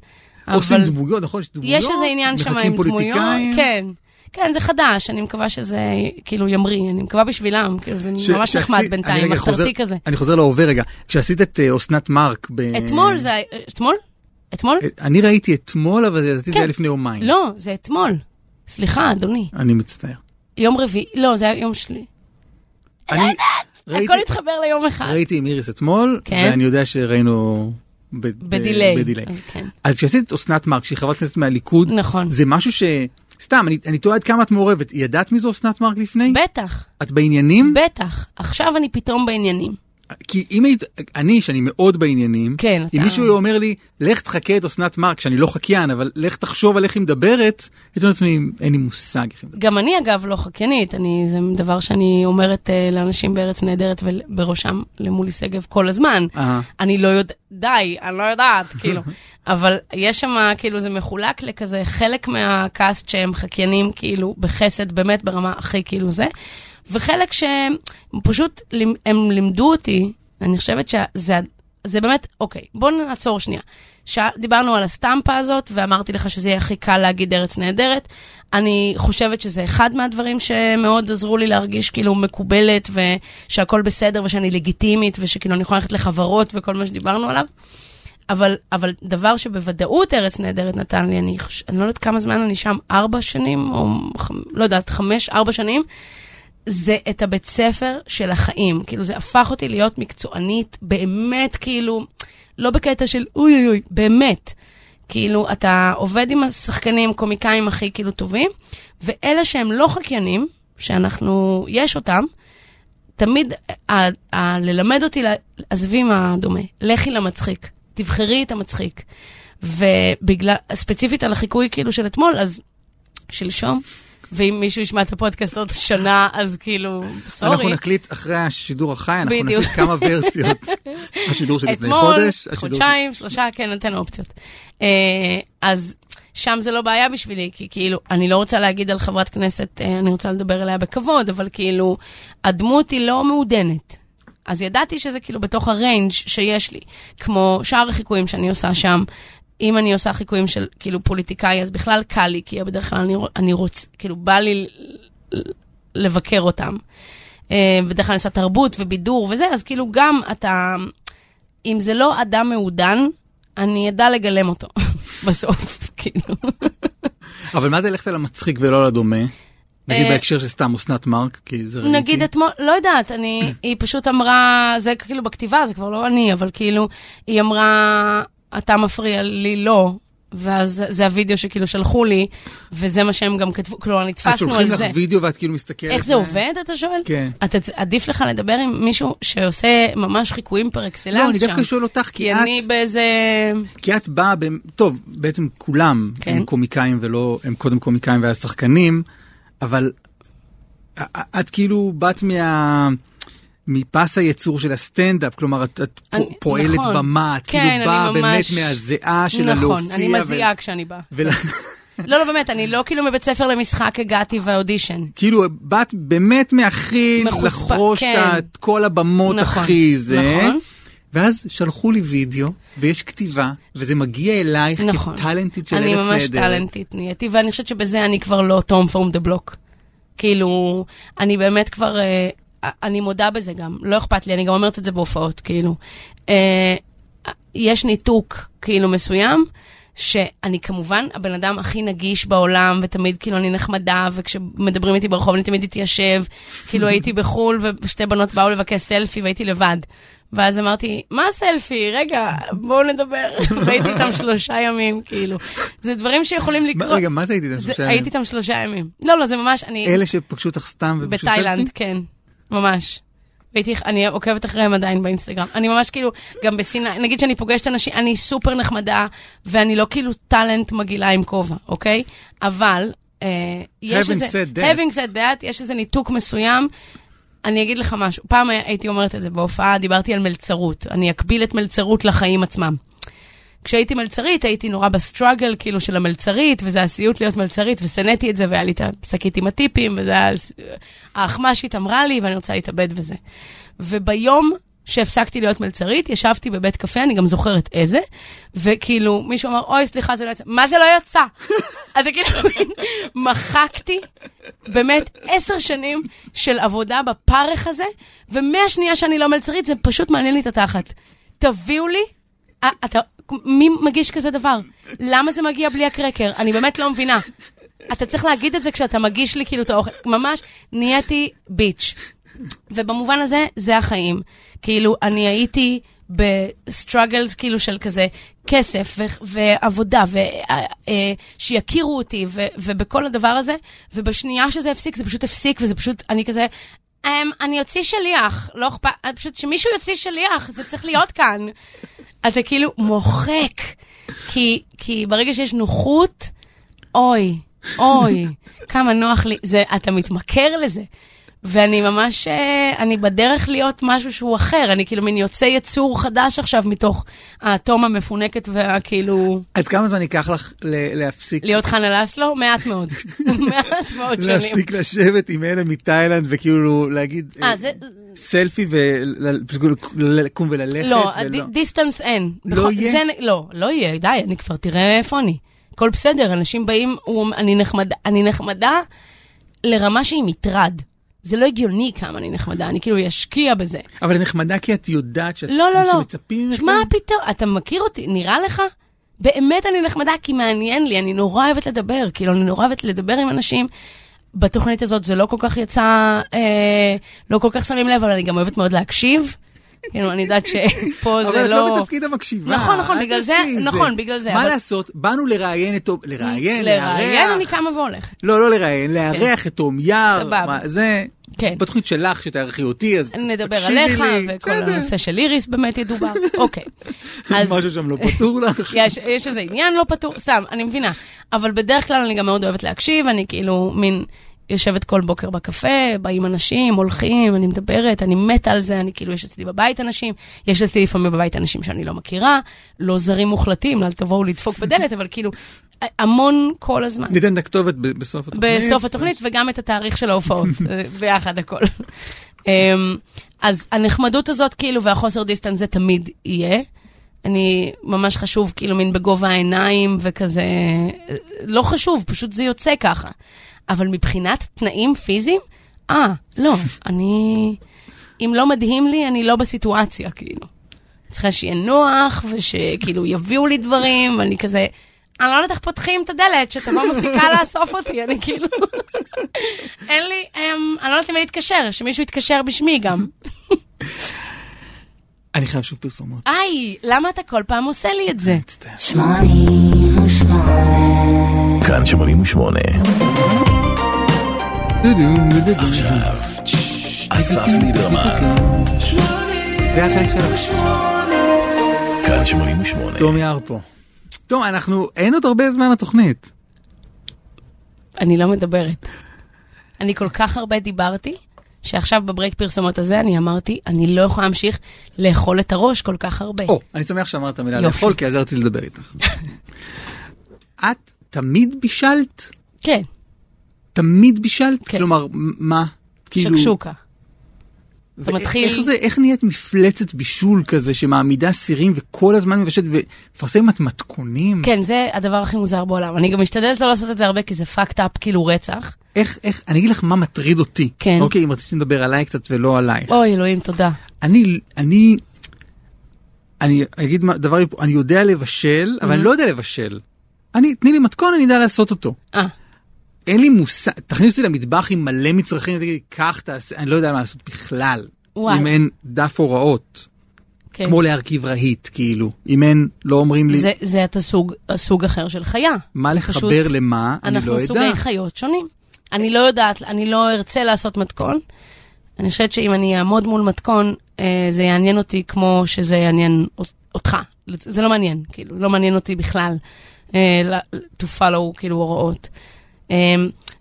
Speaker 3: עושים
Speaker 4: אבל
Speaker 3: דמויות, נכון? יש דמויות?
Speaker 4: יש איזה עניין שם
Speaker 3: מחכים
Speaker 4: עם דמויות.
Speaker 3: פוליטיקאים.
Speaker 4: כן. כן, זה חדש, אני מקווה שזה כאילו ימריא, אני מקווה בשבילם, כאילו זה
Speaker 3: ש-
Speaker 4: ממש
Speaker 3: שעשית-
Speaker 4: נחמד
Speaker 3: אני
Speaker 4: בינתיים,
Speaker 3: רגע
Speaker 4: מחתרתי
Speaker 3: חוזר-
Speaker 4: כזה.
Speaker 3: אני חוזר להווה רגע. כשעשית את אה, אסנת מארק ב...
Speaker 4: אתמול זה, היה- אתמול? אתמול?
Speaker 3: אני ראיתי אתמול, אבל לדעתי זה
Speaker 4: כן.
Speaker 3: היה לפני יומיים.
Speaker 4: לא, זה אתמול. סליחה, אדוני.
Speaker 3: אני מצטער.
Speaker 4: יום רביעי, לא, זה היה יום שלי.
Speaker 3: אני
Speaker 4: הכל התחבר ליום אחד.
Speaker 3: ראיתי עם איריס אתמול,
Speaker 4: כן.
Speaker 3: ואני יודע שראינו... ב- ב-
Speaker 4: בדיליי.
Speaker 3: בדיליי.
Speaker 4: אז כן.
Speaker 3: אז כשעשית את אסנת מארק, שהיא חברת כנסת מהליכוד,
Speaker 4: נכון.
Speaker 3: זה משהו ש... סתם, אני- אני תוהה עד כמה את מעורבת. ידעת מי זו אסנת מארק לפני?
Speaker 4: בטח,
Speaker 3: את בעניינים?
Speaker 4: בטח. עכשיו אני פתאום בעניינים.
Speaker 3: כי אם היית, אני, שאני מאוד בעניינים,
Speaker 4: כן,
Speaker 3: אם
Speaker 4: אתה-
Speaker 3: מישהו אומר לי, לך תחקה את אסנת מארק, שאני לא חקיין, אבל לך תחשוב על איך היא מדברת, הייתי אומר לעצמי, אין לי מושג איך היא מדברת.
Speaker 4: גם אני, אגב, לא חקיינית, אני, זה דבר שאני אומרת uh, לאנשים בארץ נהדרת ובראשם למולי שגב כל הזמן.
Speaker 3: אהה.
Speaker 4: אני לא יודעת, די, אני לא יודעת, כאילו. אבל יש שם, כאילו, זה מחולק לכזה חלק מהקאסט שהם חקיינים, כאילו, בחסד, באמת ברמה הכי כאילו זה, וחלק שהם פשוט, לימ- הם לימדו אותי, אני חושבת שזה זה באמת, אוקיי, בואו נעצור שנייה. שע- דיברנו על הסטמפה הזאת, ואמרתי לך שזה יהיה הכי קל להגיד ארץ נהדרת. אני חושבת שזה אחד מהדברים שמאוד עזרו לי להרגיש כאילו מקובלת, ושהכול בסדר, ושאני לגיטימית, ושכאילו אני יכולה ללכת לחברות וכל מה שדיברנו עליו. אבל, אבל דבר שבוודאות ארץ נהדרת נתן לי, אני, חוש... אני לא יודעת כמה זמן אני שם, ארבע שנים, או ח... לא יודעת, חמש, ארבע שנים, זה את הבית ספר של החיים. כאילו, זה הפך אותי להיות מקצוענית, באמת, כאילו, לא בקטע של אוי אוי אוי, באמת. כאילו, אתה עובד עם השחקנים, קומיקאים הכי כאילו טובים, ואלה שהם לא חקיינים, שאנחנו, יש אותם, תמיד ה- ה- ללמד אותי, לה- עזבי מה דומה, לכי למצחיק, תבחרי את המצחיק. ובגלל, ספציפית על החיקוי כאילו של אתמול, אז שלשום, ואם מישהו ישמע את הפודקאסט עוד שנה, אז כאילו, סורי.
Speaker 3: אנחנו נקליט אחרי השידור החי, אנחנו
Speaker 4: בדיוק.
Speaker 3: נקליט כמה ורסיות.
Speaker 4: [LAUGHS]
Speaker 3: השידור שלפני
Speaker 4: אתמול,
Speaker 3: חודש, השידור
Speaker 4: חודשיים, שלושה, כן, נותן אופציות. אה, אז שם זה לא בעיה בשבילי, כי כאילו, אני לא רוצה להגיד על חברת כנסת, אה, אני רוצה לדבר אליה בכבוד, אבל כאילו, הדמות היא לא מעודנת. אז ידעתי שזה כאילו בתוך הריינג' שיש לי, כמו שאר החיקויים שאני עושה שם. אם אני עושה חיקויים של כאילו פוליטיקאי, אז בכלל קל לי, כי בדרך כלל אני, רוצ- אני רוצה, כאילו, בא לי לבקר אותם. אה, בדרך כלל אני עושה תרבות ובידור וזה, אז כאילו גם אתה, אם זה לא אדם מעודן, אני אדע לגלם אותו [LAUGHS] בסוף, כאילו.
Speaker 3: שלפני- אבל מה זה ללכת על המצחיק ולא על הדומה? נגיד
Speaker 4: אה,
Speaker 3: בהקשר של סתם אסנת מארק, כי זה רלוונטי.
Speaker 4: נגיד אתמול, לא יודעת, אני, היא פשוט אמרה, זה כאילו בכתיבה, זה כבר לא אני, אבל כאילו, היא אמרה, אתה מפריע לי, לא. ואז זה הוידאו שכאילו שלחו לי, וזה מה שהם גם כתבו, כלומר,
Speaker 3: את
Speaker 4: נתפסנו
Speaker 3: שולחים
Speaker 4: על
Speaker 3: לך
Speaker 4: זה.
Speaker 3: וידאו ואת כאילו מסתכלת.
Speaker 4: איך זה
Speaker 3: אה,
Speaker 4: עובד, אתה שואל?
Speaker 3: כן.
Speaker 4: אתה, צ- עדיף לך לדבר עם מישהו שעושה ממש חיקויים פר אקסלנס שם.
Speaker 3: לא, אני דווקא שואל אותך,
Speaker 4: כי
Speaker 3: כי
Speaker 4: אני
Speaker 3: את...
Speaker 4: באיזה...
Speaker 3: כי את באה, ב... טוב, בעצם כולם
Speaker 4: כן.
Speaker 3: הם קומיקאים ולא, הם קודם קומיקאים ואז שחקנים, אבל א- א- את כאילו באת מה... מפס הייצור של הסטנדאפ, כלומר, את, את פו-
Speaker 4: אני-
Speaker 3: פועלת
Speaker 4: נכון.
Speaker 3: במה, את
Speaker 4: כן,
Speaker 3: כאילו
Speaker 4: אני
Speaker 3: באה באמת
Speaker 4: ממש-
Speaker 3: מהזיעה של הלהופיע.
Speaker 4: נכון, אני מזיעה כשאני באה.
Speaker 3: ו... ול- [LAUGHS]
Speaker 4: לא, לא, באמת, אני לא כאילו מבית ספר למשחק הגעתי והאודישן.
Speaker 3: כאילו, באת באמת מהכי
Speaker 4: מחוספ-
Speaker 3: לחרוש
Speaker 4: כן.
Speaker 3: כן. את כל הבמות
Speaker 4: נכון,
Speaker 3: הכי זה.
Speaker 4: נכון.
Speaker 3: ואז שלחו לי וידאו, ויש כתיבה, וזה מגיע אלייך
Speaker 4: נכון.
Speaker 3: כטאלנטית כאילו של ארץ
Speaker 4: אני
Speaker 3: נהדרת.
Speaker 4: ממש טאלנטית נהייתי, ואני חושבת שבזה אני כבר לא תום פורם דה בלוק. כאילו, אני באמת כבר, אה, אני מודה בזה גם, לא אכפת לי, אני גם אומרת את זה בהופעות, כאילו. אה, יש ניתוק, כאילו, מסוים. שאני כמובן הבן אדם הכי נגיש בעולם, ותמיד כאילו אני נחמדה, וכשמדברים איתי ברחוב אני תמיד אתיישב.
Speaker 3: [LAUGHS]
Speaker 4: כאילו הייתי בחו"ל, ושתי בנות באו לבקש סלפי והייתי לבד. ואז אמרתי, מה סלפי? רגע, בואו נדבר. [LAUGHS] והייתי איתם שלושה ימים, כאילו. זה דברים שיכולים
Speaker 3: מה-
Speaker 4: לקרות.
Speaker 3: רגע, מה זה לא אה, הייתי איתם
Speaker 4: זה-
Speaker 3: שלושה ימים?
Speaker 4: הייתי איתם שלושה ימים. לא, לא, זה ממש, אני...
Speaker 3: אלה שפגשו אותך סתם וביקשו סלפי?
Speaker 4: בתאילנד, כן, ממש. והייתי, אני עוקבת אחריהם עדיין באינסטגרם. אני ממש כאילו, גם בסיני, נגיד שאני פוגשת אנשים, אני סופר נחמדה, ואני לא כאילו טאלנט מגעילה עם כובע, אוקיי? אבל, אה, יש
Speaker 3: Having
Speaker 4: איזה...
Speaker 3: said that.
Speaker 4: having said that, יש איזה ניתוק מסוים. אני אגיד לך משהו, פעם הייתי אומרת את זה בהופעה, דיברתי על מלצרות. אני אקביל את מלצרות לחיים עצמם. כשהייתי מלצרית, הייתי נורא בסטראגל, כאילו, של המלצרית, וזה הסיוט להיות מלצרית, ושנאתי את זה, והיה לי את השקית עם הטיפים, וזה היה... הס- האחמ"שית אמרה לי, ואני רוצה להתאבד וזה. וביום שהפסקתי להיות מלצרית, ישבתי בבית קפה, אני גם זוכרת איזה, וכאילו, מישהו אמר, אוי, סליחה, זה לא יצא. מה זה לא יצא? אתה כאילו, [LAUGHS] מבין? מחקתי באמת עשר שנים של עבודה בפרך הזה, ומהשנייה שאני לא מלצרית, זה פשוט מעניין לי את התחת. תביאו לי אה, אתה, מי מגיש כזה דבר? למה זה מגיע בלי הקרקר? אני באמת לא מבינה. אתה צריך להגיד את זה כשאתה מגיש לי כאילו את האוכל. ממש נהייתי ביץ'. ובמובן הזה, זה החיים. כאילו, אני הייתי בסטראגלס כאילו של כזה כסף ו- ועבודה, ושיכירו אותי, ו- ובכל הדבר הזה, ובשנייה שזה הפסיק, זה פשוט הפסיק, וזה פשוט, אני כזה... "אמ, אני אוציא שליח, לא אכפת, פשוט שמישהו יוציא שליח, זה צריך להיות כאן. [LAUGHS] אתה כאילו מוחק, כי, כי ברגע שיש נוחות, אוי, אוי, כמה נוח לי, זה, אתה מתמכר לזה. ואני ממש, אה, אני בדרך להיות משהו שהוא אחר, אני כאילו מין יוצא יצור חדש עכשיו מתוך האטום המפונקת והכאילו,
Speaker 3: אז כמה זמן ייקח לך ל- להפסיק?
Speaker 4: להיות חנה לסלו? מעט
Speaker 3: [LAUGHS]
Speaker 4: מאוד, מעט מאוד שנים.
Speaker 3: להפסיק לשבת עם אלה מתאילנד וכאילו להגיד
Speaker 4: אה,
Speaker 3: אה,
Speaker 4: זה-
Speaker 3: סלפי ולקום וללכת
Speaker 4: לא,
Speaker 3: ולא.
Speaker 4: ד- דיסטנס אין.
Speaker 3: לא
Speaker 4: בכל-
Speaker 3: יהיה?
Speaker 4: זה נ- לא, לא יהיה, די, אני כבר תראה איפה אני. הכל בסדר, אנשים באים, הוא אומר, "אני נחמדה- אני נחמדה לרמה שהיא מטרד. זה לא הגיוני כמה אני נחמדה, אני כאילו אשקיע בזה.
Speaker 3: אבל את נחמדה כי את יודעת שאת-
Speaker 4: לא, לא, לא.
Speaker 3: שמצפים ממך.
Speaker 4: שמע, פתאום, אתה מכיר אותי, נראה לך? באמת אני נחמדה, כי מעניין לי, אני נורא אוהבת לדבר, כאילו, אני נורא אוהבת לדבר עם אנשים. בתוכנית הזאת זה לא כל כך יצא, אה, לא כל כך שמים לב, אבל אני גם אוהבת מאוד להקשיב. כאילו, אני יודעת שפה זה
Speaker 3: אבל את
Speaker 4: לא...
Speaker 3: לא בתפקיד המקשיבה.
Speaker 4: נכון, נכון,
Speaker 3: אל
Speaker 4: בגלל זה-
Speaker 3: תעשי את
Speaker 4: נכון, בגלל זה,
Speaker 3: מה
Speaker 4: אבל-
Speaker 3: לעשות, באנו לראיין את... אום- לראיין,
Speaker 4: לראיין אני
Speaker 3: לארח.
Speaker 4: קמה והולכת.
Speaker 3: לא, לא לראיין, לארח את תום יער.
Speaker 4: כן. סבבה.
Speaker 3: מה זה...
Speaker 4: כן.
Speaker 3: בתוכנית שלך, שתארחי אותי, אז
Speaker 4: נדבר
Speaker 3: תקשיבי
Speaker 4: עליך,
Speaker 3: לי.
Speaker 4: וכל
Speaker 3: בסדר. [LAUGHS]
Speaker 4: הנושא של איריס באמת ידובר. אוקיי. אז כן.
Speaker 3: משהו שם לא פתור
Speaker 4: [LAUGHS]
Speaker 3: לך.
Speaker 4: יש, יש איזה עניין לא פתור, סתם, אני מבינה. אבל בדרך כלל אני גם מאוד אוהבת להקשיב, אני כאילו מין יושבת כל בוקר בקפה, באים אנשים, הולכים, אני מדברת, אני מתה על זה, אני כאילו, יש אצלי בבית אנשים, יש אצלי לפעמים בבית אנשים שאני לא מכירה, לא זרים מוחלטים, אל תבואו לדפוק בדלת, אבל כאילו, המון כל הזמן.
Speaker 3: ניתן את הכתובת ב- בסוף התוכנית.
Speaker 4: בסוף התוכנית, וגם את התאריך של ההופעות, אה, ביחד הכל. אמ, אז הנחמדות הזאת, כאילו, והחוסר דיסטנס זה תמיד יהיה. אני ממש חשוב, כאילו, מין בגובה העיניים וכזה... אה, לא חשוב, פשוט זה יוצא ככה. אבל מבחינת תנאים פיזיים, אה, לא, אני... אם לא מדהים לי, אני לא בסיטואציה, כאילו. צריכה שיהיה נוח, ושכאילו יביאו לי דברים, ואני כזה, אני לא יודעת איך פותחים את הדלת, שתבוא מפיקה
Speaker 3: [LAUGHS]
Speaker 4: לאסוף אותי, אני כאילו, אין לי, אמ, אני לא יודעת למי להתקשר, שמישהו יתקשר בשמי גם.
Speaker 3: אני חייב שוב פרסומות.
Speaker 4: היי, למה אתה כל פעם עושה לי את זה?
Speaker 3: מצטער.
Speaker 1: שמונים ושמונה.
Speaker 2: כאן 88.
Speaker 3: עכשיו,
Speaker 2: אסף ליברמן.
Speaker 3: זה החלק שלך.
Speaker 2: כאן 88.
Speaker 3: תום יער פה. תום, אנחנו, אין עוד הרבה זמן לתוכנית.
Speaker 4: אני לא מדברת. אני כל כך הרבה דיברתי, שעכשיו בברייק פרסומות הזה אני אמרתי, אני לא יכולה להמשיך לאכול את הראש כל כך הרבה.
Speaker 3: או, אני שמח שאמרת המילה
Speaker 4: יופי.
Speaker 3: לאכול, כי אז רציתי לדבר איתך. את תמיד בישלת?
Speaker 4: כן,
Speaker 3: תמיד בישלת?
Speaker 4: כן.
Speaker 3: כלומר, מ- מה? כאילו-
Speaker 4: שקשוקה. אתה
Speaker 3: ו-
Speaker 4: מתחיל-
Speaker 3: איך זה, איך נהיית מפלצת בישול כזה שמעמידה סירים וכל הזמן מבשלת ומפרסמת מתכונים?
Speaker 4: כן, זה הדבר הכי מוזר בעולם. אני גם משתדלת לא לעשות את זה הרבה, כי זה fucked up, כאילו רצח.
Speaker 3: איך, איך, אני אגיד לך מה מטריד אותי.
Speaker 4: כן.
Speaker 3: אוקיי, אם רציתי לדבר עליי קצת ולא עלייך.
Speaker 4: אוי, אלוהים, תודה.
Speaker 3: אני, אני, אני אגיד מה- דבר, היפ- אני יודע לבשל, אבל
Speaker 4: Mm-hmm.
Speaker 3: אני לא יודע לבשל. אני, תני לי מתכון, אני יודע לעשות אותו.
Speaker 4: אה,
Speaker 3: אין לי מושג, תכניס אותי למטבח עם מלא מצרכים, תגידי, קח תעשה, אני לא יודע מה לעשות בכלל.
Speaker 4: וואי.
Speaker 3: אם אין דף הוראות,
Speaker 4: כן.
Speaker 3: כמו להרכיב רהיט, כאילו. אם אין, לא אומרים לי
Speaker 4: זה, זה אתה סוג, סוג אחר של חיה.
Speaker 3: מה
Speaker 4: זה
Speaker 3: לחבר
Speaker 4: פשוט-
Speaker 3: למה, אני לא
Speaker 4: אנחנו
Speaker 3: יודע.
Speaker 4: סוגי חיות שונים. אני לא יודעת, אני לא ארצה לעשות מתכון. אני חושבת שאם אני אעמוד מול מתכון, אה, זה יעניין אותי כמו שזה יעניין אות- אותך. לצ- זה לא מעניין, כאילו, לא מעניין אותי בכלל אה, ל- to follow, כאילו, הוראות. אה,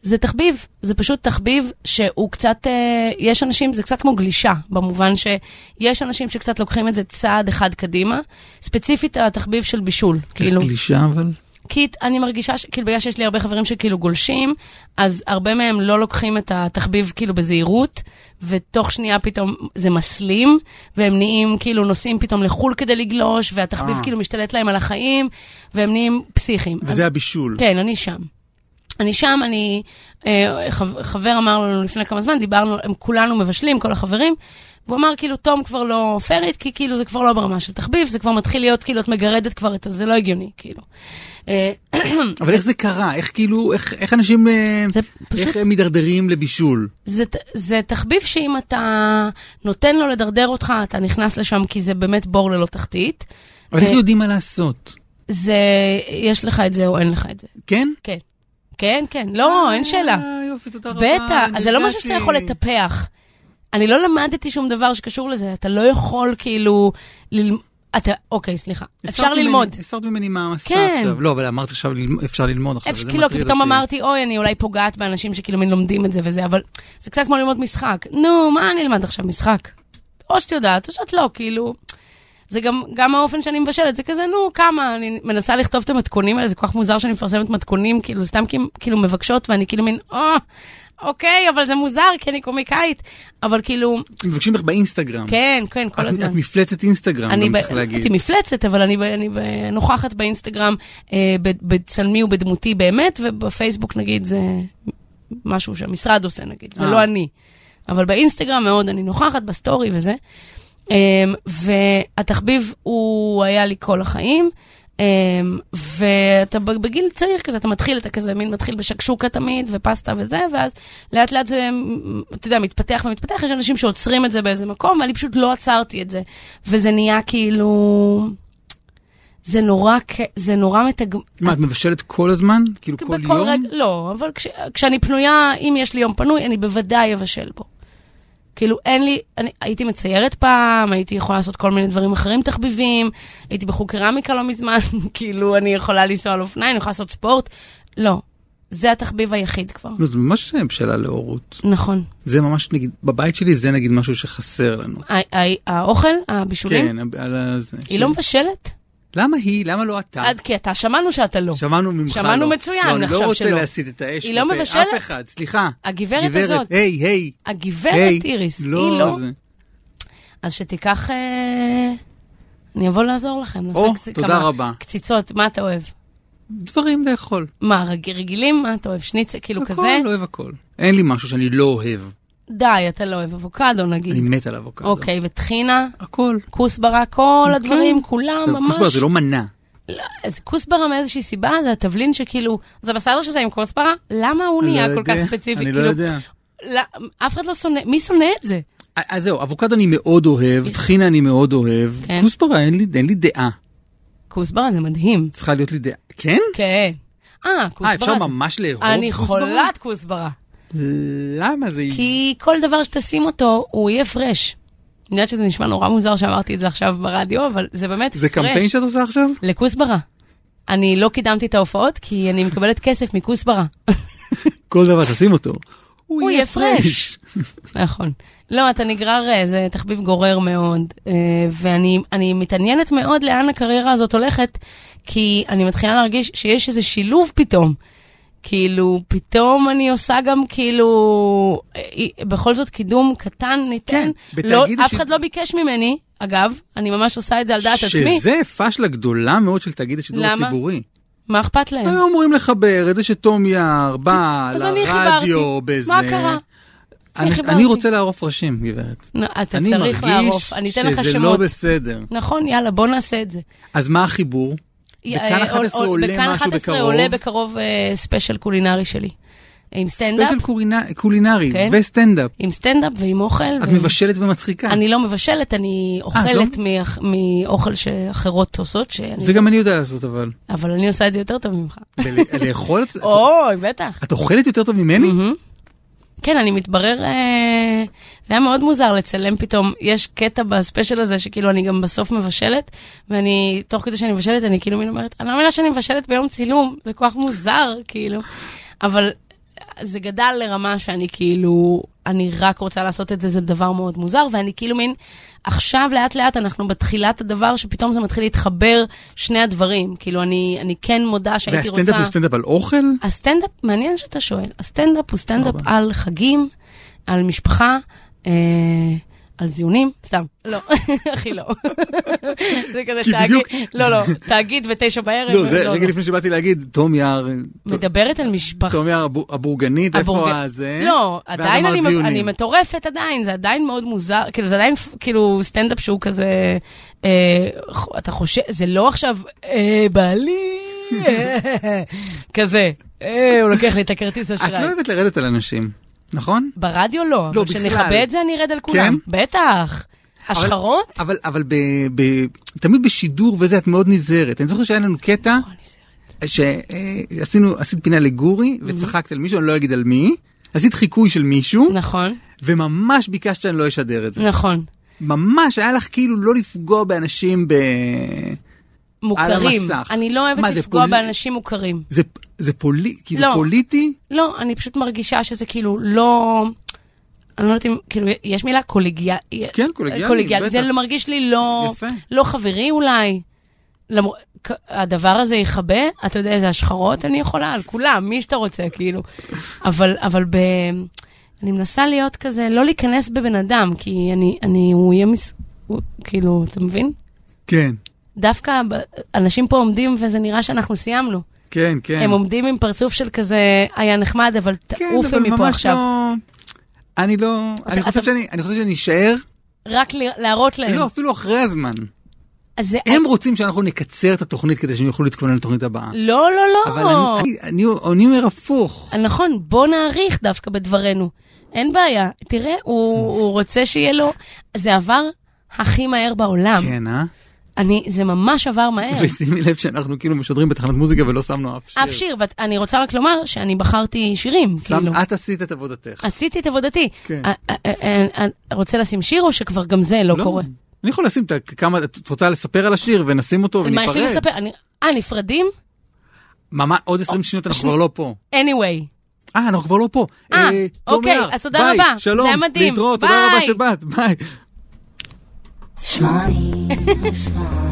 Speaker 4: זה תחביב, זה פשוט תחביב שהוא קצת, אה, יש אנשים, זה קצת כמו גלישה, במובן שיש אנשים שקצת לוקחים את זה צעד אחד קדימה. ספציפית התחביב של בישול, כאילו.
Speaker 3: איך גלישה, אבל...
Speaker 4: כי אני מרגישה, ש- כאילו, בגלל שיש לי הרבה חברים שכאילו גולשים, אז הרבה מהם לא לוקחים את התחביב כאילו בזהירות, ותוך שנייה פתאום זה מסלים, והם נהיים כאילו נוסעים פתאום לחו"ל כדי לגלוש, והתחביב
Speaker 3: אה.
Speaker 4: כאילו משתלט להם על החיים, והם נהיים פסיכיים.
Speaker 3: וזה
Speaker 4: אז-
Speaker 3: הבישול.
Speaker 4: כן, אני שם. אני שם, אני... אה, חב- חבר אמר לנו לפני כמה זמן, דיברנו, הם כולנו מבשלים, כל החברים, והוא אמר, כאילו, תום כבר לא פרית, כי כאילו זה כבר לא ברמה של תחביב, זה כבר מתחיל להיות, כאילו, את מגרדת כבר את ה... זה לא הגיוני, כאילו. אה, [CLEARS THROAT]
Speaker 3: אבל איך זה קרה? איך כאילו, איך איך אנשים, אה,
Speaker 4: זה
Speaker 3: איך
Speaker 4: פשוט...
Speaker 3: הם מידרדרים לבישול?
Speaker 4: זה, ת- זה תחביב שאם אתה נותן לו לדרדר אותך, אתה נכנס לשם, כי זה באמת בור ללא תחתית.
Speaker 3: אבל איך
Speaker 4: אה,
Speaker 3: יודעים מה לעשות?
Speaker 4: זה... יש לך את זה או אין לך את זה.
Speaker 3: כן?
Speaker 4: כן. כן, כן. לא, אין שאלה.
Speaker 3: אה, יופי, תודה רבה.
Speaker 4: בטח, אז זה לא משהו שאתה
Speaker 3: נרגעתי.
Speaker 4: יכול לטפח. אני לא למדתי שום דבר שקשור לזה, אתה לא יכול כאילו... ללמ... אתה, אוקיי, סליחה. אפשר
Speaker 3: הסרת ממני-
Speaker 4: ללמוד.
Speaker 3: הסרת ממני מעמסה
Speaker 4: כן.
Speaker 3: עכשיו. לא, אבל אמרת עכשיו ללמ- אפשר ללמוד עכשיו,
Speaker 4: אפשר,
Speaker 3: זה
Speaker 4: כאילו,
Speaker 3: מטריד
Speaker 4: כי
Speaker 3: אותי.
Speaker 4: פתאום אמרתי, אוי, אני אולי פוגעת באנשים שכאילו מין לומדים את זה וזה, אבל זה קצת כמו ללמוד משחק. נו, מה אני אלמד עכשיו משחק? או שאת יודעת, או שאת לא, כאילו... זה גם, גם האופן שאני מבשלת, זה כזה, נו, כמה, אני מנסה לכתוב את המתכונים האלה, זה כל כך מוזר שאני מפרסמת מתכונים, כאילו, סתם כי- כאילו מבקשות, ואני כאילו מין, או, אוקיי, אבל זה מוזר, כי אני קומיקאית. אבל כאילו,
Speaker 3: מבקשים לך באינסטגרם.
Speaker 4: כן, כן, כל
Speaker 3: את-
Speaker 4: הזמן.
Speaker 3: את מפלצת אינסטגרם,
Speaker 4: אני
Speaker 3: גם
Speaker 4: ב-
Speaker 3: צריך להגיד.
Speaker 4: הייתי מפלצת, אבל אני, ב- אני ב- נוכחת באינסטגרם, אה, ב- בצלמי ובדמותי באמת, ובפייסבוק נגיד זה משהו שהמשרד עושה נגיד, זה
Speaker 3: אה.
Speaker 4: לא אני. אבל באינסטגרם מאוד אני נוכחת, בסטורי וזה. אה, והתחביב הוא היה לי כל החיים. אה, ואתה ב- בגיל צעיר כזה, אתה מתחיל, אתה כזה מין מתחיל בשקשוקה תמיד, ופסטה וזה, ואז לאט לאט זה, מ- אתה יודע, מתפתח ומתפתח, יש אנשים שעוצרים את זה באיזה מקום, ואני פשוט לא עצרתי את זה. וזה נהיה כאילו... זה נורא, כ- זה נורא מתג...
Speaker 3: מה, את מבשלת כל הזמן? כאילו כל
Speaker 4: בכל
Speaker 3: יום?
Speaker 4: רגע- לא, אבל כש, כשאני פנויה, אם יש לי יום פנוי, אני בוודאי אבשל בו. כאילו, אין לי, אני הייתי מציירת פעם, הייתי יכולה לעשות כל מיני דברים אחרים, תחביבים, הייתי בחוג קרמיקה לא מזמן, [LAUGHS] כאילו, אני יכולה לנסוע על אופניים, אני יכולה לעשות ספורט. לא, זה התחביב היחיד כבר.
Speaker 3: לא, זה ממש בשלה להורות.
Speaker 4: נכון.
Speaker 3: זה ממש, נגיד, בבית שלי זה נגיד משהו שחסר לנו.
Speaker 4: ה- ה- האוכל, הבישולים,
Speaker 3: כן, על ה- זה.
Speaker 4: היא לא מבשלת?
Speaker 3: למה היא? למה לא אתה?
Speaker 4: עד כי אתה, שמענו שאתה לא.
Speaker 3: שמענו ממך לא.
Speaker 4: שמענו מצוין,
Speaker 3: לא, אני
Speaker 4: נחשוב
Speaker 3: לא רוצה
Speaker 4: שלא.
Speaker 3: להסיט את האש.
Speaker 4: היא לא
Speaker 3: כלפי
Speaker 4: מבשלת?
Speaker 3: אף אחד, סליחה.
Speaker 4: הגברת הזאת.
Speaker 3: היי, היי. היי.
Speaker 4: הגברת איריס, היא לא...
Speaker 3: זה-
Speaker 4: אז שתיקח... אה, אני אבוא לעזור לכם, נעשה
Speaker 3: או,
Speaker 4: קצ-
Speaker 3: תודה
Speaker 4: כמה
Speaker 3: רבה.
Speaker 4: קציצות, מה אתה אוהב?
Speaker 3: דברים לאכול.
Speaker 4: מה, רג- רגילים? מה אתה אוהב? שניצל, כאילו
Speaker 3: הכל,
Speaker 4: כזה?
Speaker 3: לא אוהב הכל. אין לי משהו שאני לא אוהב.
Speaker 4: די, אתה לא אוהב אבוקדו נגיד.
Speaker 3: אני מת על אבוקדו.
Speaker 4: אוקיי, וטחינה,
Speaker 3: הכל.
Speaker 4: כוסברה, כל הדברים,
Speaker 3: כן.
Speaker 4: כולם
Speaker 3: אבל
Speaker 4: ממש...
Speaker 3: כוסברה זה לא מנה.
Speaker 4: לא, אז כוסברה מאיזושהי סיבה, זה התבלין שכאילו, זה בסדר שזה עם כוסברה? למה הוא
Speaker 3: אני לא
Speaker 4: נהיה כל
Speaker 3: יודע,
Speaker 4: כך ספציפי?
Speaker 3: אני לא
Speaker 4: כאילו,
Speaker 3: יודע.
Speaker 4: לא- אף אחד לא שונא, מי שונא את זה?
Speaker 3: אז זהו, אבוקדו אני מאוד אוהב, טחינה אני מאוד אוהב,
Speaker 4: כן.
Speaker 3: כוסברה אין לי- אין לי דעה.
Speaker 4: כוסברה זה מדהים.
Speaker 3: צריכה להיות לי דעה. כן?
Speaker 4: כן. אה,
Speaker 3: אה,
Speaker 4: כוסברה
Speaker 3: אפשר
Speaker 4: זה-
Speaker 3: ממש לאהוב
Speaker 4: אני
Speaker 3: כוסברה?
Speaker 4: חולת כוסברה.
Speaker 3: למה זה...
Speaker 4: כי כל דבר שתשים אותו, הוא יהיה פרש. אני יודעת שזה נשמע נורא מוזר שאמרתי את זה עכשיו ברדיו, אבל זה באמת
Speaker 3: זה
Speaker 4: פרש.
Speaker 3: קמפיין שאת עושה עכשיו?
Speaker 4: לכוסברה. אני לא קידמתי את ההופעות, כי אני מקבלת כסף מכוסברה.
Speaker 3: כל דבר תשים אותו.
Speaker 4: הוא יהיה פרש. [LAUGHS] נכון. לא, אתה נגרר, אה, זה תחביב גורר מאוד. אה, ואני אני מתעניינת מאוד לאן הקריירה הזאת הולכת, כי אני מתחילה להרגיש שיש איזה שילוב פתאום. כאילו, פתאום אני עושה גם כאילו, אה, אה, בכל זאת קידום קטן ניתן.
Speaker 3: כן,
Speaker 4: לא,
Speaker 3: בתאגיד
Speaker 4: אף
Speaker 3: השידור-
Speaker 4: אחד לא ביקש ממני, אגב, אני ממש עושה את זה על דעת עצמי.
Speaker 3: שזה פשלה גדולה מאוד של תאגיד השידור
Speaker 4: למה?
Speaker 3: הציבורי.
Speaker 4: מה אכפת להם?
Speaker 3: היו אמורים לחבר את זה שתום יער בא
Speaker 4: אז אני
Speaker 3: לרדיו
Speaker 4: חיברתי.
Speaker 3: בזה.
Speaker 4: מה קרה? אני
Speaker 3: אני-
Speaker 4: חיברתי.
Speaker 3: אני רוצה לערוף ראשים, גברת.
Speaker 4: נו, אתה
Speaker 3: אני
Speaker 4: צריך לערוף, אני
Speaker 3: מרגיש
Speaker 4: אתן לך
Speaker 3: שזה לא
Speaker 4: שמות.
Speaker 3: בסדר.
Speaker 4: נכון, יאללה, בוא נעשה את זה.
Speaker 3: אז מה החיבור? בכאן
Speaker 4: אה,
Speaker 3: 11
Speaker 4: עוד- עוד-
Speaker 3: עולה
Speaker 4: בכאן
Speaker 3: משהו
Speaker 4: 11
Speaker 3: בקרוב.
Speaker 4: עולה בקרוב אה, ספיישל קולינרי שלי. עם סטנדאפ,
Speaker 3: ספיישל קולינה- קולינרי
Speaker 4: כן.
Speaker 3: וסטנדאפ.
Speaker 4: עם סטנדאפ ועם אוכל.
Speaker 3: את
Speaker 4: ועם-
Speaker 3: מבשלת ומצחיקה.
Speaker 4: אני לא מבשלת, אני אוכלת
Speaker 3: לא?
Speaker 4: מאח- מאוכל שאחרות עושות, שאני- לא-
Speaker 3: זה גם אני יודע לעשות,
Speaker 4: [LAUGHS]
Speaker 3: אבל.
Speaker 4: אבל אני עושה את זה יותר טוב
Speaker 3: [LAUGHS]
Speaker 4: ממך.
Speaker 3: ולאכול... את-
Speaker 4: אוי, בטח.
Speaker 3: את אוכלת יותר טוב ממני?
Speaker 4: מהמם. כן, אני מתברר, אה, זה היה מאוד מוזר לצלם פתאום, יש קטע בספיישל הזה שכאילו אני גם בסוף מבשלת, ואני, תוך כדי שאני מבשלת, אני כאילו מין אומרת, אני לא מאמינה שאני מבשלת ביום צילום, זה כל כך מוזר, כאילו. אבל זה גדל לרמה שאני כאילו, אני רק רוצה לעשות את זה, זה דבר מאוד מוזר, ואני כאילו מין, עכשיו לאט לאט אנחנו בתחילת הדבר, שפתאום זה מתחיל להתחבר שני הדברים. כאילו, אני, אני כן מודה שהייתי רוצה...
Speaker 3: והסטנדאפ הוא סטנדאפ על אוכל?
Speaker 4: הסטנדאפ, מעניין שאתה שואל, הסטנדאפ הוא סטנדאפ
Speaker 3: אוקיי.
Speaker 4: על חגים, על משפחה, אה, על זיונים, סתם, [LAUGHS] לא, הכי לא. זה כזה
Speaker 3: כי
Speaker 4: תאגיד,
Speaker 3: בדיוק-
Speaker 4: לא, לא, תאגיד בתשע בערב,
Speaker 3: לא, זה רגע לפני שבאתי להגיד, תום יער...
Speaker 4: מדברת על משפחה.
Speaker 3: תום יער הבור- הבורגנית, איפה
Speaker 4: הבורג-
Speaker 3: הזה?
Speaker 4: לא,
Speaker 3: ואז
Speaker 4: עדיין
Speaker 3: אמרת
Speaker 4: אני,
Speaker 3: ציונים.
Speaker 4: אני מטורפת עדיין, זה עדיין מאוד מוזר, כאילו זה עדיין כאילו סטנדאפ שהוא כזה, אה, ח- אתה חושב, זה לא עכשיו, אה, בעלי, אה, [LAUGHS] כזה, אה, הוא לוקח לי את הכרטיס
Speaker 3: את
Speaker 4: אשראי.
Speaker 3: לא אוהבת לרדת על אנשים, נכון?
Speaker 4: ברדיו לא, אבל
Speaker 3: בכלל. כן?
Speaker 4: כשנכבה את זה אני ארד על כולם. בטח. השחרות?
Speaker 3: אבל, אבל ב, ב, תמיד בשידור וזה, את מאוד נזהרת. אני זוכר שהיה לנו קטע
Speaker 4: נכון,
Speaker 3: שעשינו, עשית פינה לגורי
Speaker 4: Mhm.
Speaker 3: וצחקת על מישהו, אני לא אגיד על מי. עשית חיקוי של מישהו,
Speaker 4: נכון,
Speaker 3: וממש ביקשת שאני לא אשדר את זה.
Speaker 4: נכון.
Speaker 3: ממש היה לך כאילו לא לפגוע באנשים ב...
Speaker 4: מוכרים.
Speaker 3: המסך.
Speaker 4: אני לא אוהבת
Speaker 3: מה, זה
Speaker 4: לפגוע
Speaker 3: פולי-
Speaker 4: באנשים מוכרים.
Speaker 3: זה, זה פולי, כאילו
Speaker 4: לא.
Speaker 3: פוליטי?
Speaker 4: לא, אני פשוט מרגישה שזה כאילו לא... אני לא יודעת אם, כאילו, יש מילה קולגיאל...
Speaker 3: כן, קולגיאלי,
Speaker 4: קולגיאל. זה
Speaker 3: בטח.
Speaker 4: לא- מרגיש לי לא...
Speaker 3: יפה.
Speaker 4: לא חברי אולי. למר... כ- הדבר הזה יכבה, אתה יודע איזה השחרות אני יכולה, על כולם, מי שאתה רוצה, כאילו. אבל, אבל ב... אני מנסה להיות כזה, לא להיכנס בבן אדם, כי אני, אני, הוא יהיה מס... הוא, כאילו, אתה מבין?
Speaker 3: כן,
Speaker 4: דווקא ב- אנשים פה עומדים וזה נראה שאנחנו סיימנו.
Speaker 3: כן, כן.
Speaker 4: הם עומדים עם פרצוף של כזה, היה נחמד, אבל
Speaker 3: כן,
Speaker 4: תעופי
Speaker 3: אבל
Speaker 4: מפה
Speaker 3: ממש
Speaker 4: עכשיו.
Speaker 3: לא... אני לא... אני חושב
Speaker 4: אתה- כן.
Speaker 3: שאני אני חושב שאני אשאר,
Speaker 4: רק ל- להראות להם.
Speaker 3: לא, אפילו אחרי הזמן.
Speaker 4: אז זה...
Speaker 3: הם רוצים שאנחנו נקצר את התוכנית כדי שהם יוכלו להתכונן לתוכנית הבאה.
Speaker 4: לא, לא, לא.
Speaker 3: אבל אני- אני אני- אני אומר הפוך.
Speaker 4: נכון, בוא נעריך דווקא בדברנו. אין בעיה. תראה, הוא, הוא רוצה שיהיה לו... זה עבר הכי מהר בעולם. כן.
Speaker 3: כן, אה?
Speaker 4: אני, זה ממש עבר מהר.
Speaker 3: ושימי לב שאנחנו כאילו משודרים בתחנת מוזיקה ולא שמנו אף שיר.
Speaker 4: כן. אף שיר, ואני רוצה רק לומר שאני בחרתי שירים,
Speaker 3: שם-
Speaker 4: כאילו.
Speaker 3: את עשית את עבודתך.
Speaker 4: עשיתי את עבודתי.
Speaker 3: כן.
Speaker 4: אה, אה, אה, אה, רוצה לשים שיר או שכבר גם זה לא קורה?
Speaker 3: אני יכול לשים את ה- כמה... את רוצה לספר על השיר ונשים אותו וניפרד?
Speaker 4: מה יש לי לספר? אני- אה, נפרדים?
Speaker 3: ממש, עוד 20 שניות אנחנו
Speaker 4: שנייה.
Speaker 3: כבר לא פה.
Speaker 4: anyway.
Speaker 3: אה, אנחנו כבר לא פה.
Speaker 4: אה,
Speaker 3: אה, תום
Speaker 4: אוקיי,
Speaker 3: יער,
Speaker 4: אז תודה
Speaker 3: ביי,
Speaker 4: רבה. זה
Speaker 3: שלום,
Speaker 4: היה מדהים.
Speaker 3: להתראות, תודה רבה
Speaker 4: ביי.
Speaker 3: שבאת, ביי.
Speaker 1: שמונים ושמונה